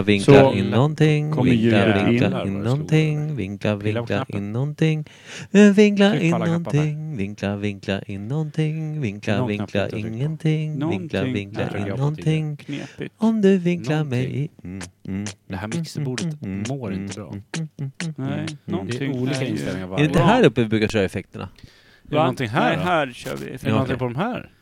Vinkla, vinkla Så in någonting, kommer vinkla, djuret vinkla in. in någonting, vinkla, Pilla på vinkla knappen. in någonting, eh, vinkla Tryck in på alla knappar där. någonting, vinkla, vinkla in någonting, vinkla, Någon vinkla knapp inte tryckt på. ingenting, vinkla, Någonting. vinkla Nej, trycker in jag på någonting. Knepigt. Om du vinklar mig Någonting. i... Mm, mm, Det här mixerbordet mm, mår inte mm, bra. mm, mm, mm, mm. Nej, Det någonting. är olika Nej, inställningar Är det varje inte gång. här uppe vi brukar köra effekterna? Är det någonting här Nej, då? här kör vi. Är det någonting på de här?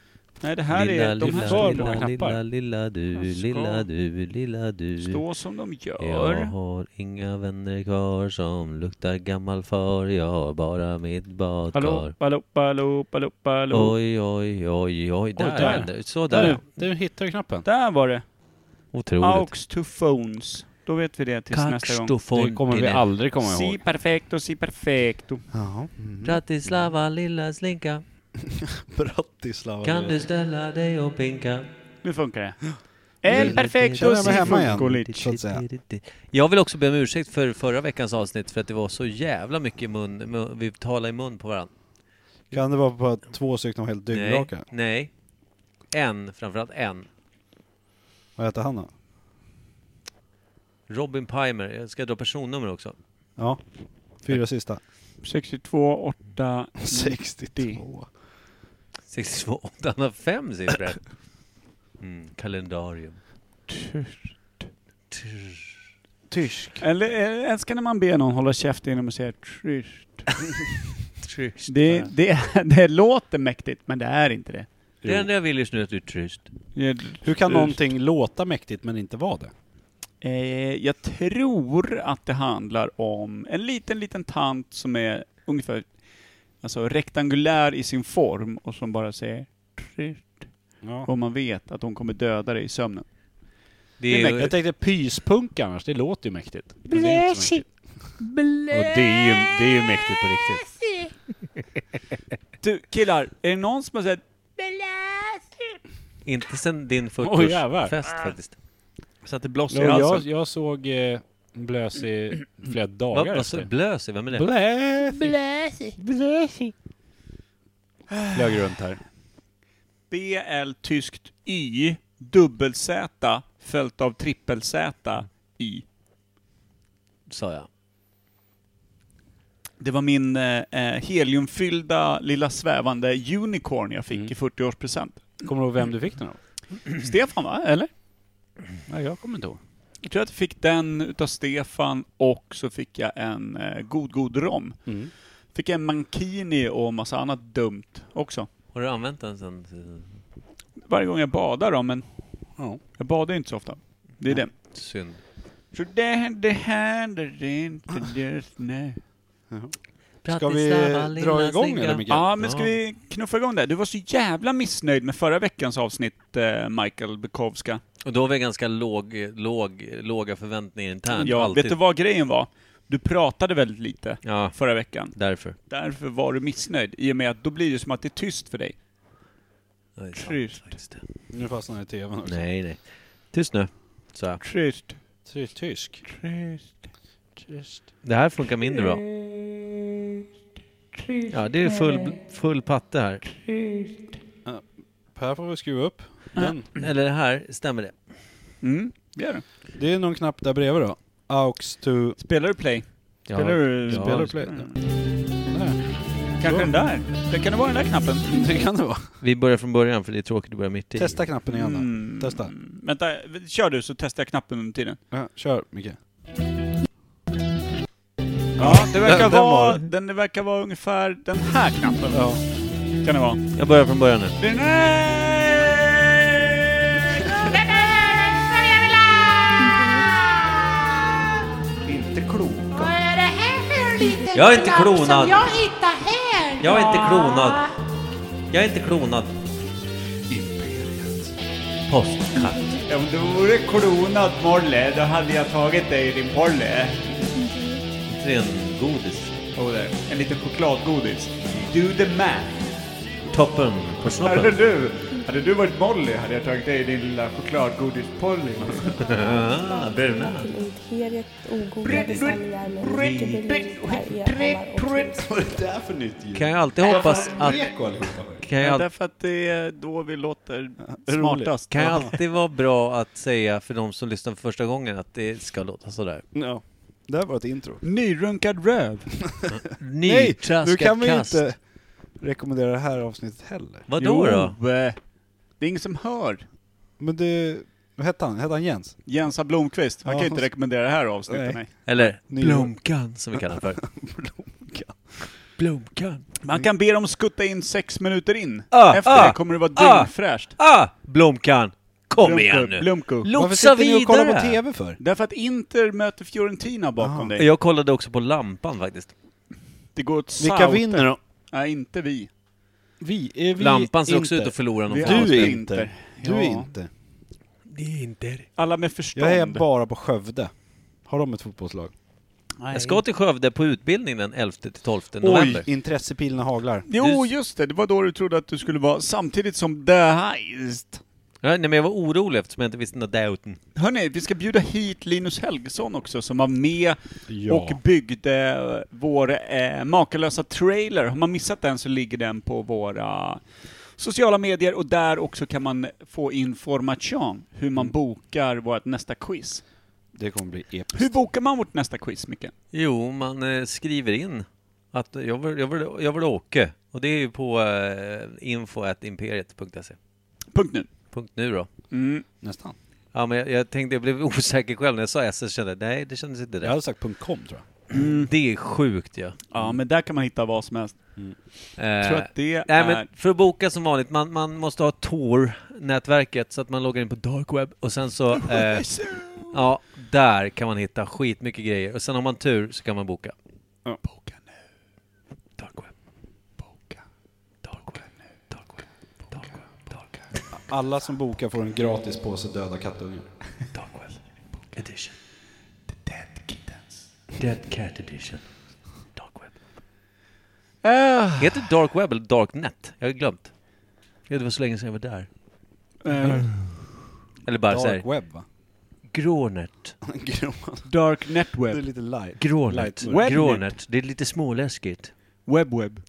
Nej, det här lilla, är... De lilla, här har lilla, många lilla, knappar. lilla du, Jag ska lilla du, lilla du. Stå som de gör. Jag har inga vänner kvar som luktar gammal far. Jag har bara mitt badkar. Hallå, hallå, hallå, hallå, hallå. Oj, oj, oj, oj. Där, där. hände det. Så Där där. du, du hittar ju knappen. Där var det. Otroligt. Aux to phones. Då vet vi det tills nästa gång. Det kommer vi Karstofontine. aldrig komma Si ihåg. perfecto, si perfecto. Jaha. Mm. Mm. Bratislava, lilla slinka. Bratislava. Kan du ställa dig och pinka? Nu funkar det. El Kör perfecto, den si hemma igen. funkolic. så att säga. Jag vill också be om ursäkt för förra veckans avsnitt för att det var så jävla mycket i mun, mun vi talade i mun på varandra. Kan det vara på att två stycken var helt Nej, dyngraka? nej. En, framförallt en. Vad heter han då? Robin Pimer. Jag ska dra personnummer också. Ja. Fyra sista. 62, 8, 62. 62. Han har fem siffror. Mm, kalendarium. Trr. Tysk. Eller eh, älskar när man ber någon hålla käften genom att säga tryst. Trist. Det, det, det låter mäktigt, men det är inte det. Det enda jag vill just nu är att du är trist. Hur kan någonting låta mäktigt men inte vara det? Eh, jag tror att det handlar om en liten, liten tant som är ungefär alltså, rektangulär i sin form och som bara säger tryst. Ja. Och man vet att hon kommer döda dig i sömnen. Det är, Jag tänkte pyspunk annars, det låter ju mäktigt. Men det är inte så Blessy. mäktigt. Och det är ju, det är ju mäktigt på riktigt. Du, killar, är det någon som har sett inte sen din Oj, jävlar. 40-årsfest faktiskt. Så att det Jo, blossar jag, jag såg eh, Blösi flera Vad dagar vad sa du? efter. Blösi? Vem är det? Blösi! Blessy. Blessy. Flög runt här. BL tyskt Y, dubbel-Z, följt av trippel-Z, Y? Sa jag. Det var min eh, eh, heliumfyllda lilla svävande unicorn jag fick Mm. i 40-årspresent. Kommer du ihåg vem du fick den av? Stefan va, eller? Nej, jag kommer inte ihåg. Jag tror att jag fick den utav Stefan och så fick jag en eh, god, god rom. Mm. Fick jag en mankini och massa annat dumt också. Har du använt den sen? Varje gång jag badar då, men Ja. jag badar ju inte så ofta. Det är det. Synd. Så det, det händer inte just nu. Ska vi Bratislava, dra lilla igång slinka. eller Mikael? Ja, men ska vi knuffa igång det? Du var så jävla missnöjd med förra veckans avsnitt, eh, Michael Bukowska. Och då var vi ganska låg, låg, låga förväntningar internt. Ja, alltid. vet du vad grejen var? Du pratade väldigt lite Ja, förra veckan. därför. Därför var du missnöjd, i och med att då blir det som att det är tyst för dig. Ja, det är sant Trist. faktiskt. Nu fastnar jag i tvn också. Nej, nej. Tyst nu. Så. här. Tyst. Ty- Tysk. Tyst. Det här funkar mindre bra. Ja, det är full, full patte här. Per får vi skruva upp. Den. Eller det här, stämmer det? Mm, det gör du. Det är någon knapp där bredvid då. Aux to... Spelar du play? Ja. Spelar du... Ja. Spelar du play? Mm. Där. Kanske den där? Det kan det vara den där knappen? Det kan det vara. Vi börjar från början för det är tråkigt att börja mitt i. Testa knappen igen då. Mm. Testa. Vänta, kör du så testar jag knappen under tiden. Ja, kör Micke. Ja, det verkar, den- den vara, var- den, det verkar vara ungefär den här knappen. Ja. Kan det vara. Jag börjar från början nu. Den här... Inte klokt. Vad är det här för en liten Jag är inte knapp klonad. Som jag hittade här. Jag är inte Ja. klonad. Jag är inte klonad. Postkatt. Om du vore klonad Molle, då hade jag tagit dig i din Molle. Rengodis. Oh, där. En liten chokladgodis. Do the math. Toppen på Hade snoppen. du, hade du varit Molly hade jag tagit dig i din lilla chokladgodis-Polly. Ah, bruna. Imperiet ogodade sanningar med mycket bevis per erhammar och Vad är det där för nytt ljud? Kan jag alltid hoppas att... Reko allihopa. kan ju Ja, alltid därför att det är då vi låter roligt. smartast. kan ju alltid vara bra att säga för de som lyssnar för första gången att det ska låta sådär. Ja. Det här var ett intro. Nyrunkad röv. nu Nytraskat kan vi kast. inte rekommendera det här avsnittet heller. Vadå då? Jo, eh, Det är ingen som hör. Men det... Vad hette han? Hette han Jens? Jensa Blomqvist, han Ja. kan ju inte rekommendera det här avsnittet. Nej. Nej. Eller Ny- Blomkan som vi kallar den för. Blomkan. Man kan be dem skutta in sex minuter in. Ah, Efter ah, det kommer det vara ah. dyngfräscht. Ah! Blomkan! Kom Blomko, igen nu! Blomko. Varför Lotsa sitter ni och kollar på vidare! TV för? Därför att Inter möter Fiorentina bakom Aha. dig. Jag kollade också på lampan faktiskt. Det går åt Vilka Sauter. vinner då? Nej, inte vi. Vi? Är vi Lampan ser också inte? ut att förlora någon Vi form av Du spel. är Inter. inte. Du Ja. är inte. Det är inte... Alla med förstånd. Jag är bara på Skövde. Har de ett fotbollslag? Nej. Jag ska till Skövde på utbildning den 11-12 november. Oj! Intressepilen haglar. Jo, Du- just det. Det var då du trodde att du skulle vara samtidigt som The Heist. Ja, nej, men jag var orolig eftersom jag inte visste den där douten. Hörni, vi ska bjuda hit Linus Helgesson också som var med Ja. och byggde eh, vår eh, makalösa trailer. Har man missat den så ligger den på våra sociala medier och där också kan man få information hur Mm. man bokar vårt nästa quiz. Det kommer bli episkt. Hur bokar man vårt nästa quiz, Micke? Jo, man eh, skriver in att jag vill, jag, vill, jag vill åka. Och det är ju på eh, info.imperiet.se. Punkt nu. Punkt nu då. Mm. Nästan. Ja, men jag, jag tänkte, jag blev osäker själv när jag sa SS, kände jag, nej, det kändes inte Jag rätt. hade sagt .com tror jag. Mm. Det är sjukt ja. Ja, men där kan man hitta vad som helst. Eh, Jag tror att det Nej, är... men för att boka som vanligt, man, man måste ha Tor-nätverket så att man loggar in på darkweb och sen så... Eh, ja, där kan man hitta skitmycket grejer och sen har man tur så kan man boka. Boka nu. Darkweb, Boka. Boka nu. darkweb, darkweb, darkweb, Alla som bokar får en gratis påse döda kattungar. darkweb edition. The Dead Kittens. Dead Cat edition. Darkweb. Ah, Heter det darkweb eller darknet? Jag har glömt. Det var så länge sedan jag var där. eh, Eller bara såhär, Dark web va? grånet. Grå- dark det är Netweb. lite light. Grånet. Lightweb. Grånet. Det är lite småläskigt. Webweb.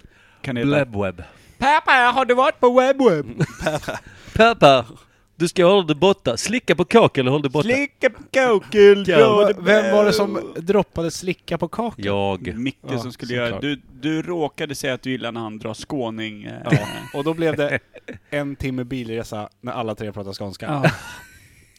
Kan det heta. Blebweb. Pappa, har du varit på Mm. Webweb? Pappa, du ska hålla dig borta. Slicka på kak eller håll dig borta. Slicka på kakel, Ja, v- vem var det som droppade slicka på kakan? jag. Eh, Micke Ja, som skulle såklart. göra... Du, du råkade säga att du gillar när han drar skåning. eh, Och då blev det en timme bilresa när alla tre pratade skånska. Ja.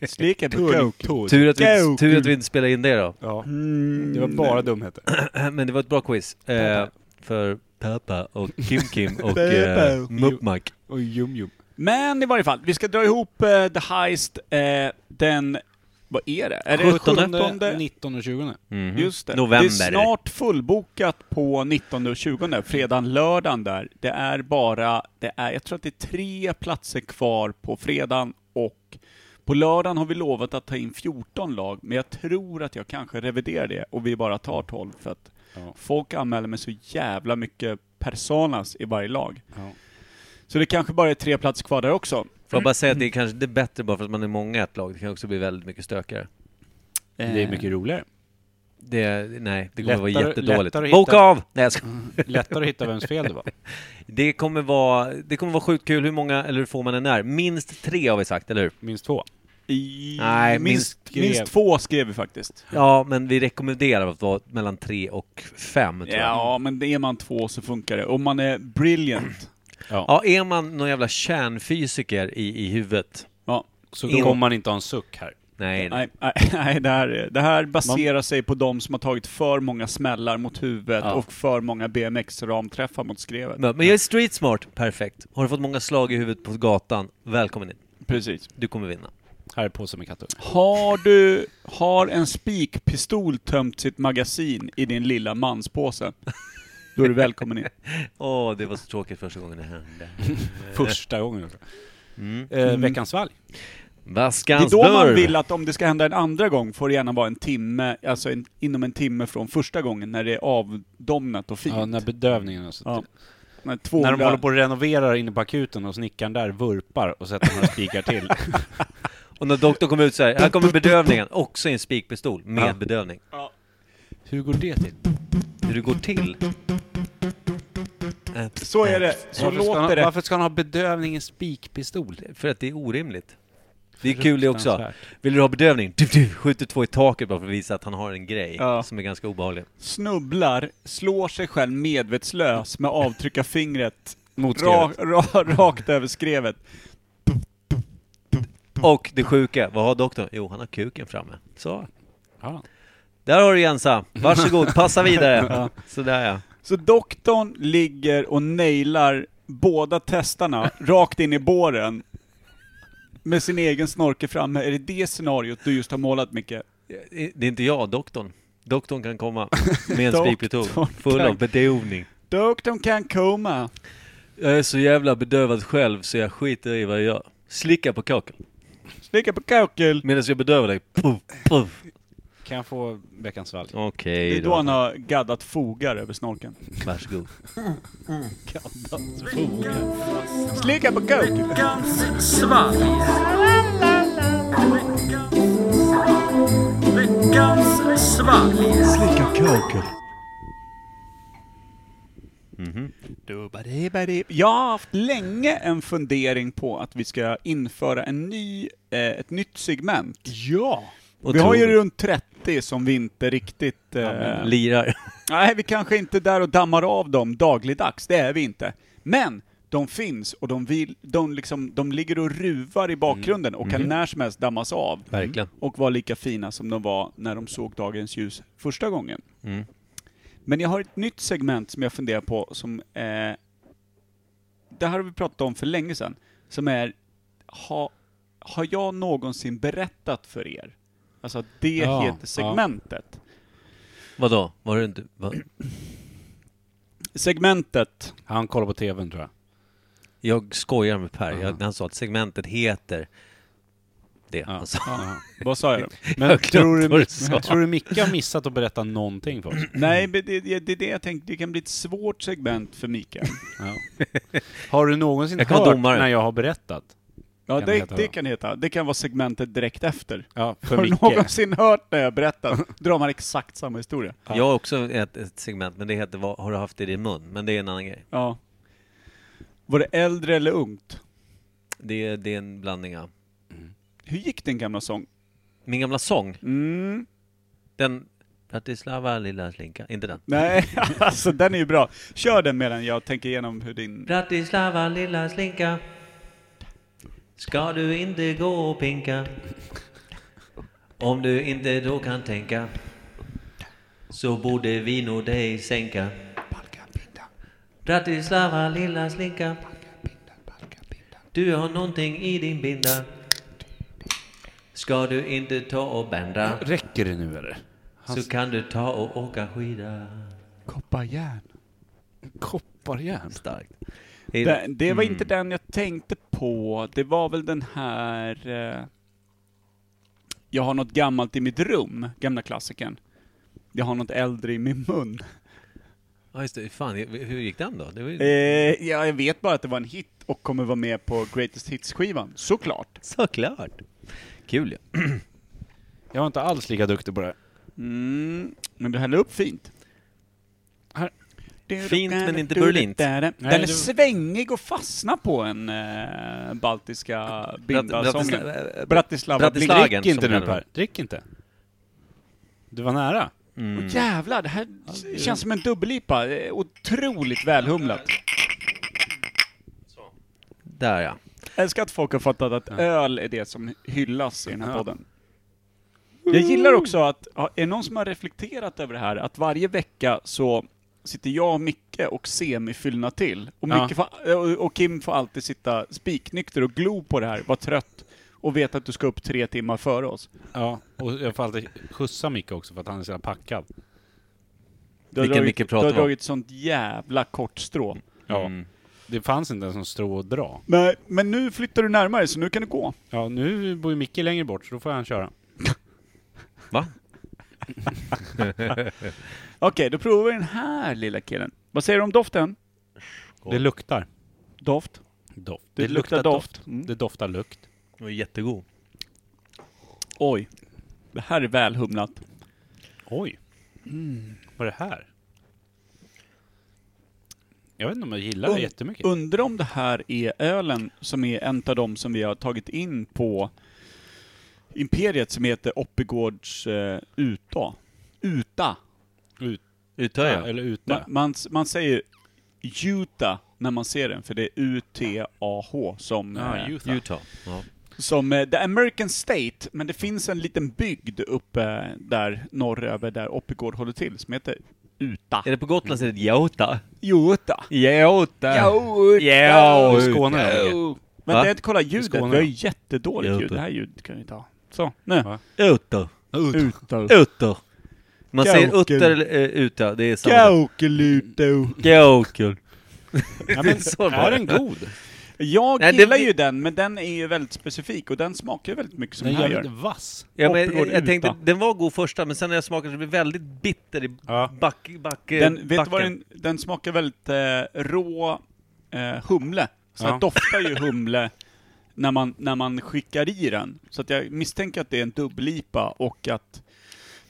Slicka på kakel. Tur att, vi, Kakel. tur att vi inte spelade in det då. Äh, Ja. Mm. Det var bara dumheter. Men det var ett bra quiz. Eh, för Pappa och Kim Kim och eh, Pappa. Muppmack. Och jum-jum. Men i varje fall, vi ska dra ihop eh, The Heist eh, den... Vad är det? Är det 17? 17? 19 och 20. Mhm. Just det. November. Det är snart fullbokat på 19 och 20, fredagen, lördagen där. Det är bara, det är, jag tror att det är tre platser kvar på fredagen och på lördagen har vi lovat att ta in 14 lag, men jag tror att jag kanske reviderar det och vi bara tar 12 för att Ja. folk anmäler mig så jävla mycket personas i varje lag. Ja. Så det kanske bara är tre platser kvar där också. Får jag bara säga att Mm. det är kanske det är bättre bara för att man är många i ett lag. Det kan också bli väldigt mycket stökigare. Eh. Det är mycket roligare. Det, nej, det kommer vara Lättare- jättedåligt. lättare att Boka hitta- av! Nej, jag skojar. Mm. Lättare att hitta vems fel det var. det kommer vara, det kommer vara sjukt kul. Hur många, eller hur få man än är. Minst tre har vi sagt, eller hur? Minst två. Eh, I, Nej, minst, minst- minst två skrev vi faktiskt. Ja, men vi rekommenderar att vara mellan tre och fem, tror jag. Ja, men är man två så funkar det. Om man är brilliant. Ja, är man någon jävla kärnfysiker i, i huvudet? Ja. Så In- kommer man inte ha en suck här. Nej, nej. Nej, nej, nej det, här, det här baserar sig på de som har tagit för många smällar mot huvudet Ja. och för många BMX-ramträffar mot skrevet. Men men jag är street smart, perfekt. Har du fått många slag i huvudet på gatan, välkommen in. Precis. Du kommer vinna. Här är påsen med kattungar. Har du, har en spikpistol tömt sitt magasin i din lilla manspåse? Då är du välkommen in. Åh, det var så tråkigt första gången det hände. Första gången. tror jag. Mm. Eh, veckans svalg. Det är Vaskans då man dörr. vill att om det ska hända en andra gång får det gärna vara en timme, alltså en, inom en timme från första gången när det är avdomnat och fint. Ja, när bedövningen och sånt. Ja. När, När 200, de håller på och renoverar inne på akuten och snickaren där vurpar och sätter några spikar till. Och när doktorn kommer ut så här, här kommer bedövningen. Också i en spikpistol, med Ja. bedövning. Hur går det till? Hur det går till. Så är det. Så varför, ska låter han, det. varför ska han ha bedövning i en spikpistol? För att det är orimligt. Det är kul det också. Vill du ha bedövning? Typ, typ, Skjuter två i taket bara för att visa att han har en grej Ja. som är ganska obehaglig. Snubblar, slår sig själv medvetslös med avtryck av fingret Mot ra, ra, rakt över skrevet. Och det sjuka, vad har doktorn? Jo, han har kuken framme. Så. Ja. Där har du Jensa. Varsågod, passa vidare. Sådär ja. Så doktorn ligger och nailar båda testarna rakt in i båren med sin egen snorkel framme. Är det det scenariot du just har målat, Micke? Det är inte jag, doktorn. Doktorn kan komma med en Doktorn spikpistol full kan- av bedövning. Doktorn kan komma. Jag är så jävla bedövad själv så jag skiter i vad jag gör. Slicka på kakan. Slicka på kakel. Medan jag bedövar dig. Puff, puff. Kan jag få veckans svalg? Okej Det är då han har gaddat fogar över snorkeln. Varsågod. Slicka på kakel. Slicka kakel. Mm-hmm. Jag har haft länge en fundering på att vi ska införa en ny, eh, ett nytt segment. Ja! Vi har ju Otroligt. runt 30 som vi inte riktigt... Eh, Lirar. Nej, vi kanske inte är där och dammar av dem dagligdags, det är vi inte. Men de finns och de, vill, de, liksom, de ligger och ruvar i bakgrunden och kan när som helst dammas av. Mm. Mhm. Verkligen. Och vara lika fina som de var när de såg dagens ljus första gången. Mm. Men jag har ett nytt segment som jag funderar på som eh, Det här har vi pratat om för länge sedan. Som är ha, Har jag någonsin berättat för er? Alltså det Ja, heter ja. segmentet. Vadå? Var det inte... Va? Segmentet Han kollar på TVn tror jag. Jag skojar med Per. Jag, han sa att segmentet heter det. Alltså. Han sa. Vad sa jag? Men Jag tror, glömde vad du, du sa. tror du Micke har missat att berätta någonting för oss? Nej, men det, det, det är det jag tänkte. Det kan bli ett svårt segment för Mikael. Ja. Har du någonsin Jag kan vara hört domare. när jag har berättat? Ja, Kan det, det det, heta då? kan det heta. Det kan vara segmentet direkt efter. Ja, för Har du Micke. någonsin hört när jag berättar? Drar man exakt samma historia. Jag har också ett, ett segment, men det heter vad har du haft i din mun? Men det är en annan grej. Ja. Var det äldre eller ungt? Det är, det är en blandning av... Hur gick den gamla sång? Min gamla sång, Mm. den... Bratislava lilla slinka, inte den. Nej, alltså den är ju bra. Kör den medan jag tänker igenom hur din... Bratislava lilla slinka Ska du inte gå och pinka Om du inte då kan tänka Så borde vi nog dig sänka Bratislava lilla slinka Du har någonting i din binda Ska du inte ta och bända Räcker det nu eller? Så kan du ta och åka skida Kopparjärn. Kopparjärn? Starkt Det, det var inte den jag tänkte på. Det var väl den här... Eh, jag har något gammalt i mitt rum, gamla klassikern. Jag har något äldre i min mun. Ja just det, fan hur gick den då? Det var Eh, ju... ja, jag vet bara att det var en hit och kommer vara med på Greatest Hits-skivan, såklart. Såklart! Kul ja. Jag var inte alls lika duktig på det. Mm, men du häller upp fint. Här. Fint, men inte burlint. Den Nej, är det- svängig och fastnar på en eh, baltiska bindasången. Bratisla- Bratislava Blink. Bratislagen, Drick inte som nu kallar Per. Drick inte. Du var nära. Mm. Åh, jävlar, det här känns som en dubbellipa. Eh, Otroligt välhumlat. Där ja. Jag älskar att folk har fattat att öl är det som hyllas i den här podden. Jag gillar också att, ja, är det någon som har reflekterat över det här? Att varje vecka så sitter jag och Micke och Semi fyllna till. Och, Ja. Micke får, eh, och- och Kim får alltid sitta spiknykter och glo på det här, vara trött och veta att du ska upp tre timmar före oss. Ja, och jag får alltid skjutsa Micke också för att han är så jävla packad. Du har Vilken dragit, Micke du pratar har om? dragit sånt jävla kort strå. Ja. Mm. Det fanns inte ens någon strå att dra. Men, men nu flyttar du närmare, så nu kan du gå. Ja, nu bor ju Micke längre bort så då får han köra. Va? Okej, då provar vi den här lilla killen. Vad säger du om doften? Det luktar. Doft. Doft. Det luktar doft. Mm. Det doftar lukt. Den var jättegod. Oj. Det här är välhumlat. Mm. Oj. Vad är det här? Jag vet inte om jag gillar det Und- jättemycket. Undrar om det här är ölen som är en av de som vi har tagit in på Imperiet som heter Oppigårds eh, Uta. Uta. Utar Ja, jag? eller Man, ute. man, man säger Utah när man ser den, för det är U-T-A-H som, eh, Ja, Utah. Utah. Ja. som eh, The American State, men det finns en liten bygd uppe där norröver där Oppigård håller till som heter Uta. Är det på Gotland så är det Jota? Jota. Jota! Ja, I Skåne är det mycket. Men Va? jag inte kolla ljudet, vi Skåne. har ju jättedåligt ljud. Jota. Det här ljudet kan vi inte ha. Så, nu. Va? Uta. Uta. Uta. Man säger Gaukel. utter eller eh, uta, det är samma. Kaukuluto. Gaukel. Ja, Det är men, så bra. är den god? Jag Nej, det- gillar ju den, men den är ju väldigt specifik och den smakar ju väldigt mycket som Den den är här gör. jävligt vass. Ja, men jag, Oppigård jag tänkte, Uta. den var god första, men sen när jag smakade så blev det väldigt bitter i Ja. back, back, Den, vet du backen. vad den, den smakar väldigt eh, rå eh, humle. Så den Ja. doftar ju humle när man, när man skickar i den. Så att jag misstänker att det är en dubbellipa och att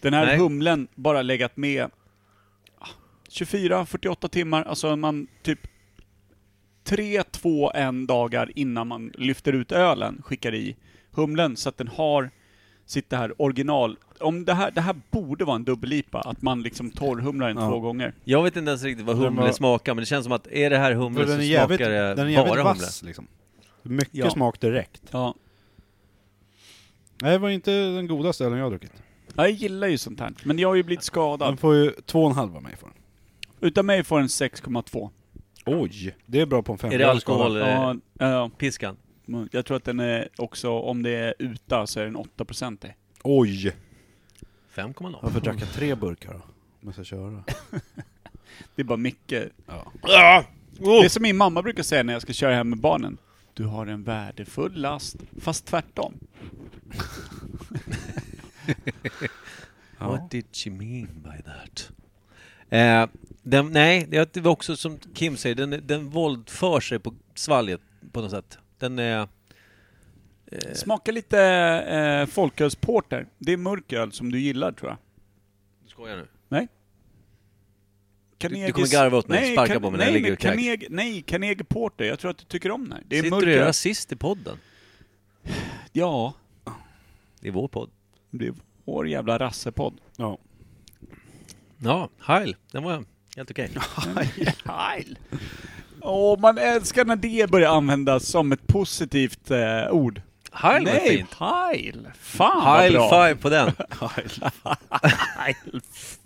den här Nej. humlen bara legat med 24-48 timmar, alltså man typ 3, 2, 1 dagar innan man lyfter ut ölen skickar i humlen så att den har sitt det här original. Om det här, det här borde vara en dubbellipa, att man liksom torrhumlar den Ja. två gånger. Jag vet inte ens riktigt vad Den humle var- smakar, men det känns som att är det här humle För så den är smakar jävligt, det den är bara jävligt humle. vass liksom. Mycket Ja. smak direkt. Ja. Nej, det var inte den godaste ölen jag har druckit. Jag gillar ju sånt här, men jag har ju blivit Den skadad. får ju två och en halv av mig för den. Utan mig får den 6,2. Oj! Det är bra på en Är femgradig det skala. alkohol? Ja. Ja, ja, Piskan? jag tror att den är också, om det är uta så är den 8% i. Oj! 5,0. Varför drack jag tre burkar då? Om jag ska köra. Det är bara mycket. Ja. Det är som min mamma brukar säga när jag ska köra hem med barnen. Du har en värdefull last, fast tvärtom. What did she mean by that? Eh, den, nej, det var också som Kim säger, den, den våldför sig på svalget på något sätt. Den eh, är... Smakar lite eh, folkölsporter. Det är mörk öl som du gillar tror jag. Du skojar nu? Carnegie- du kommer garva åt mig, nej, sparka Car- på mig när jag nej, ligger och men kräks. Carnegie- Nej, Carnegie Porter. Jag tror att du tycker om den här. Det är Sitter mörk du och är öl. rasist i podden? Ja, Det är vår podd. det är vår jävla rassepodd. ja. Ja, heil. Den var helt okej. Heil. Åh, man älskar när det börjar användas som ett positivt eh, ord. Heil var Nej, fint. heil! Fan vad Heil bra! Mm. five på den. Heil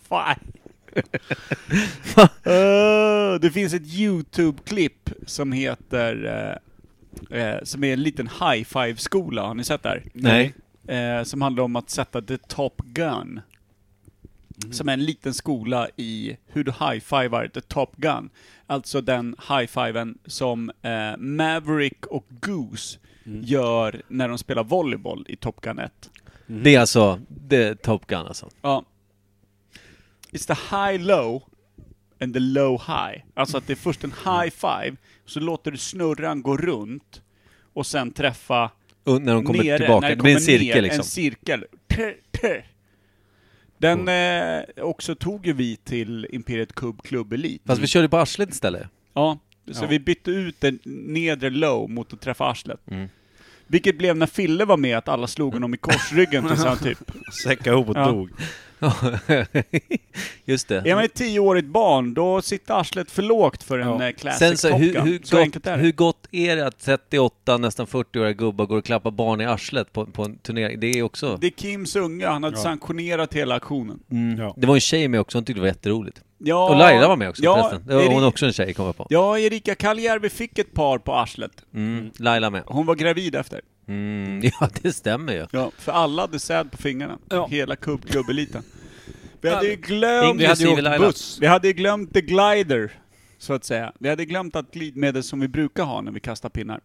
five! Eh, det finns ett YouTube-klipp som heter... eh, eh, som är en liten high five-skola, har ni sett det här? Nej. eh, som handlar om att sätta the top gun. Som är en liten skola i hur du high-fivar the top gun. Alltså den high-fiven som eh, Maverick och Goose gör när de spelar volleyboll i Top Gun 1. Det är alltså det är Top Gun alltså. Ja. It's the high-low and the low-high. Alltså att det är först en high-five, så låter du snurran gå runt och sen träffa Och när de kommer nere, tillbaka. när Det blir en kommer cirkel ner, liksom. En cirkel. Tr, tr. Den eh, också tog ju vi till Imperiet Cub Club Elite. Fast vi körde på arslet istället. Ja, så vi bytte ut den nedre low mot att träffa arslet. Mm. Vilket blev när Fille var med att alla slog honom i korsryggen tills han typ... Säcka ihop och Ja. dog. Just det. Är man ett tioårigt barn, då sitter arslet för lågt för en ja. classic Sen så, Top hur, Gun. hur, så enkelt gott, är det. hur gott är det att 38, nästan 40-åriga gubbar går och klappar barn i arslet på, på en turnering? Det är också... Det är Kims unge, han hade sanktionerat hela aktionen. Mm. Ja. Det var en tjej med också, hon tyckte det var jätteroligt. Ja, Och Laila var med också ja, förresten. Det var hon Eri- också en tjej, kom jag på. Ja, Erika Kaljärvi fick ett par på arslet. Mm. Laila med. Hon var gravid efter. Mm. Ja, det stämmer ju. Ja, för alla hade säd på fingrarna. Hela kubbklubbeliten. Vi hade ju glömt... Inklusive vi hade ju åkt Laila. buss. Vi hade ju glömt the glider, så att säga. Vi hade glömt att glidmedel som vi brukar ha när vi kastar pinnar.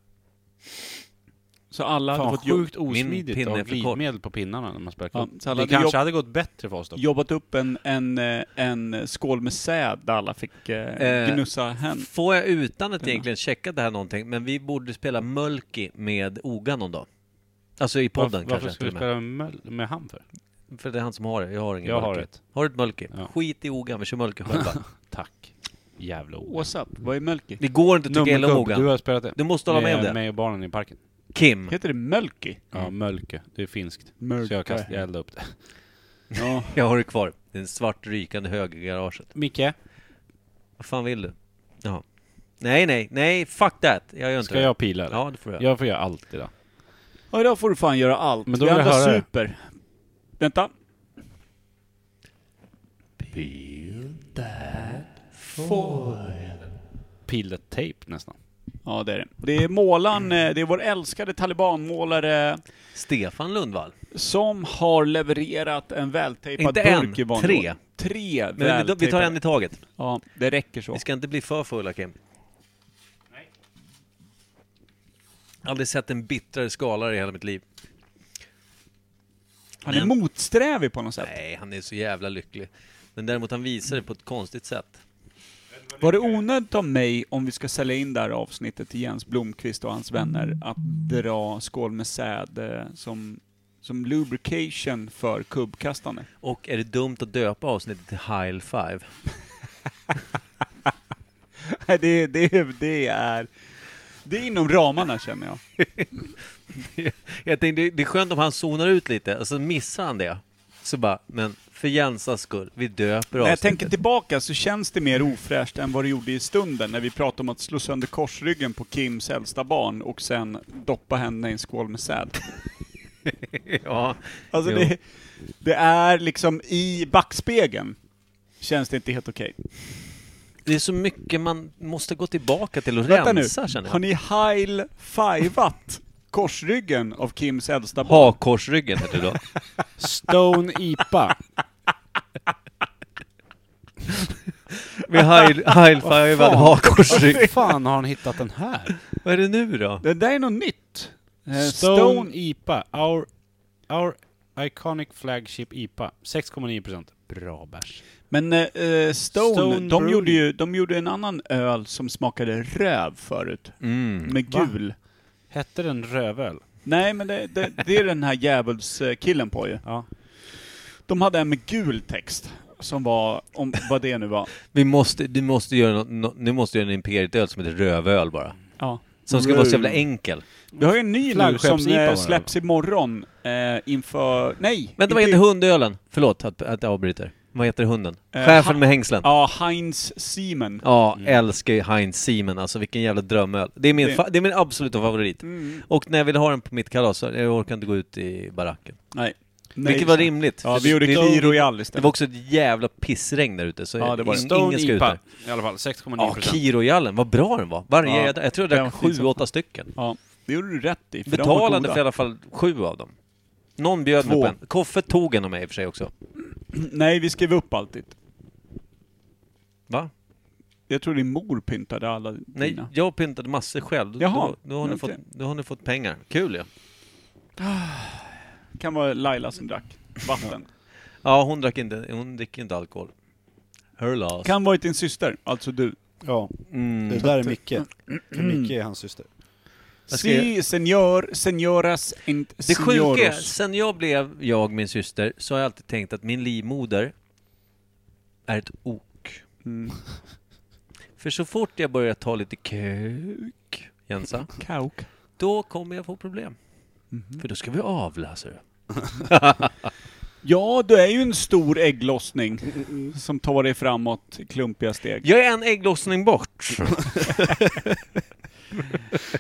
Så alla hade Fan, fått jo- sjukt osmidigt pinne att är för ha kort. glidmedel på pinnarna när man spelar Ja, klubb. så alla det hade kanske jobb- hade gått bättre för oss då. jobbat upp en, en, eh, en skål med säd där alla fick eh, Eh, gnussa hem. Får jag utan att Denna. egentligen checka det här någonting, men vi borde spela Mölki med Oga någon dag. Alltså i podden Varför- kanske Varför ska till vi och med. spela med, med han för? För det är han som har det, jag har ingen Jag Mölki. har ett. Har du ett Mölki? Ja. Skit i Ogan, vi kör Mölki själva. Tack. Jävla o... What's up? Vad är Mölki? Det går inte att tycka illa om Nummergubb, du Mogan. har spelat det. Du måste hålla med om det. mig och barnen i parken. Kim. Heter det Mölki? Ja, mölke. Det är finskt. Så Mölke. jag, kast, jag eldade upp det. Ja. Jag har det kvar. Det är en svart rykande hög i garaget. Micke, Vad fan vill du? Jaha. Nej, nej, nej, fuck that. Jag gör inte ska det. jag pila eller? Ja, det får jag. Jag får göra allt idag. ja, idag får du fan göra allt. Men då Vi vill jag andra höra det. super. Vänta. Pillet-tape nästan. Ja, det är det. Det är målaren, Mm. eh, det är vår älskade talibanmålare Stefan Lundvall. som har levererat en vältejpad Inte burk en, i vanlig tre. ordning. Tre Men vi, vi tar vältejpade. en i taget. Ja, det räcker så. Vi ska inte bli för fulla, Kim. Aldrig sett en bittrare skalare i hela mitt liv. Han är motsträvig på något sätt. Nej, han är så jävla lycklig. Men däremot, han visar det på ett konstigt sätt. Var det onödigt av mig, om vi ska sälja in det här avsnittet till Jens Blomqvist och hans vänner, att dra Skål med säd eh, som, som lubrication för kubbkastande? Och är det dumt att döpa avsnittet till High Five? Nej, det, det, det är... Det är inom ramarna känner jag. Jag tänkte, det är skönt om han zonar ut lite, och så missar han det. Så bara, men för Jensas skull, vi döper När jag avsnittet. tänker tillbaka så känns det mer ofräscht än vad det gjorde i stunden när vi pratade om att slå sönder korsryggen på Kims äldsta barn och sen doppa henne i en skål med säd. Ja, Alltså Jo. det, det är liksom i backspegeln känns det inte helt okej. det är så mycket man måste gå tillbaka till och Vänta nu, rensa känner har jag. ni heil fivat korsryggen av Kims äldsta barn? Hakorsryggen heter det då. Stone IPA. Vi high-fivad hakorsrygg. fan har han hittat den här? Vad är det nu då? Det där är något nytt. Eh, Stone, Stone IPA. Our, our iconic flagship IPA. 6,9%. Bra bärs. Men eh, eh, Stone, Stone de, Brewing. gjorde ju, de gjorde en annan öl som smakade röv förut. Med Va? gul. Hette den rövöl? Nej, men det, det, det är den här djävulskillen på ju. Ja. De hade en med gul text, som var, om, vad det nu var. Vi måste, du måste göra något, nå- nu måste du göra en Imperiet-öl som heter rövöl bara. Ja. Som ska vara så jävla enkel. Vi har ju en ny nu som Flaggskeppsipa var eh, det. släpps imorgon eh, inför... Nej! Vänta, vad inte- heter hundölen? Förlåt att, att jag avbryter. Vad heter hunden? Eh, Chefen ha- med hängslen. Ja, Heinz Siemen. Ja, älskar ju Heinz Siemen alltså, vilken jävla drömöl. Det är min, Mm. Det- fa- det är min absoluta favorit. Och när jag ville ha den på mitt kalas, så jag orkade inte gå ut i baracken. Nej. Nej. Vilket var rimligt. Ja, För vi gjorde det- Key Royal Det istället. var också ett jävla pissregn där ute, så Ja, det var det. ing- Eh, Stone ingen ska ut IPA. där. I alla fall, Ja, 6,9%. Kirojallen, vad bra den var. Varje, Ja, jag, jag tror jag den drack var sju, fin som åtta stycken. Ja, det gjorde du rätt i. För de var Betalade goda. för i alla fall sju av dem. Någon bjöd mig Två. på en. Koffe tog en av mig i och för sig också. Nej, vi skrev upp alltid. Va? Jag tror din mor pyntade alla Nej, dina. jag pyntade massor själv. Då, Jaha, då, då, har ni okej. fått, då har ni fått pengar. Kul ja. Kan vara Laila som drack vatten. Ja, hon drack inte, hon dricker inte alkohol. Her loss. Kan varit din syster, alltså du. Ja, Mm. det där är Micke. För Micke är hans syster. Jag ska- Si, senor, senoras, ent, Det sjuka är, Mm. senioros. sen jag blev jag, min syster, så har jag alltid tänkt att min livmoder är ett ok. Mm. För så fort jag börjar ta lite kuk, Jensa, Kauk. då kommer jag få problem. För då ska vi avla, ser du. Ja, du är ju en stor ägglossning Mm. som tar dig framåt i klumpiga steg. Jag är en ägglossning bort.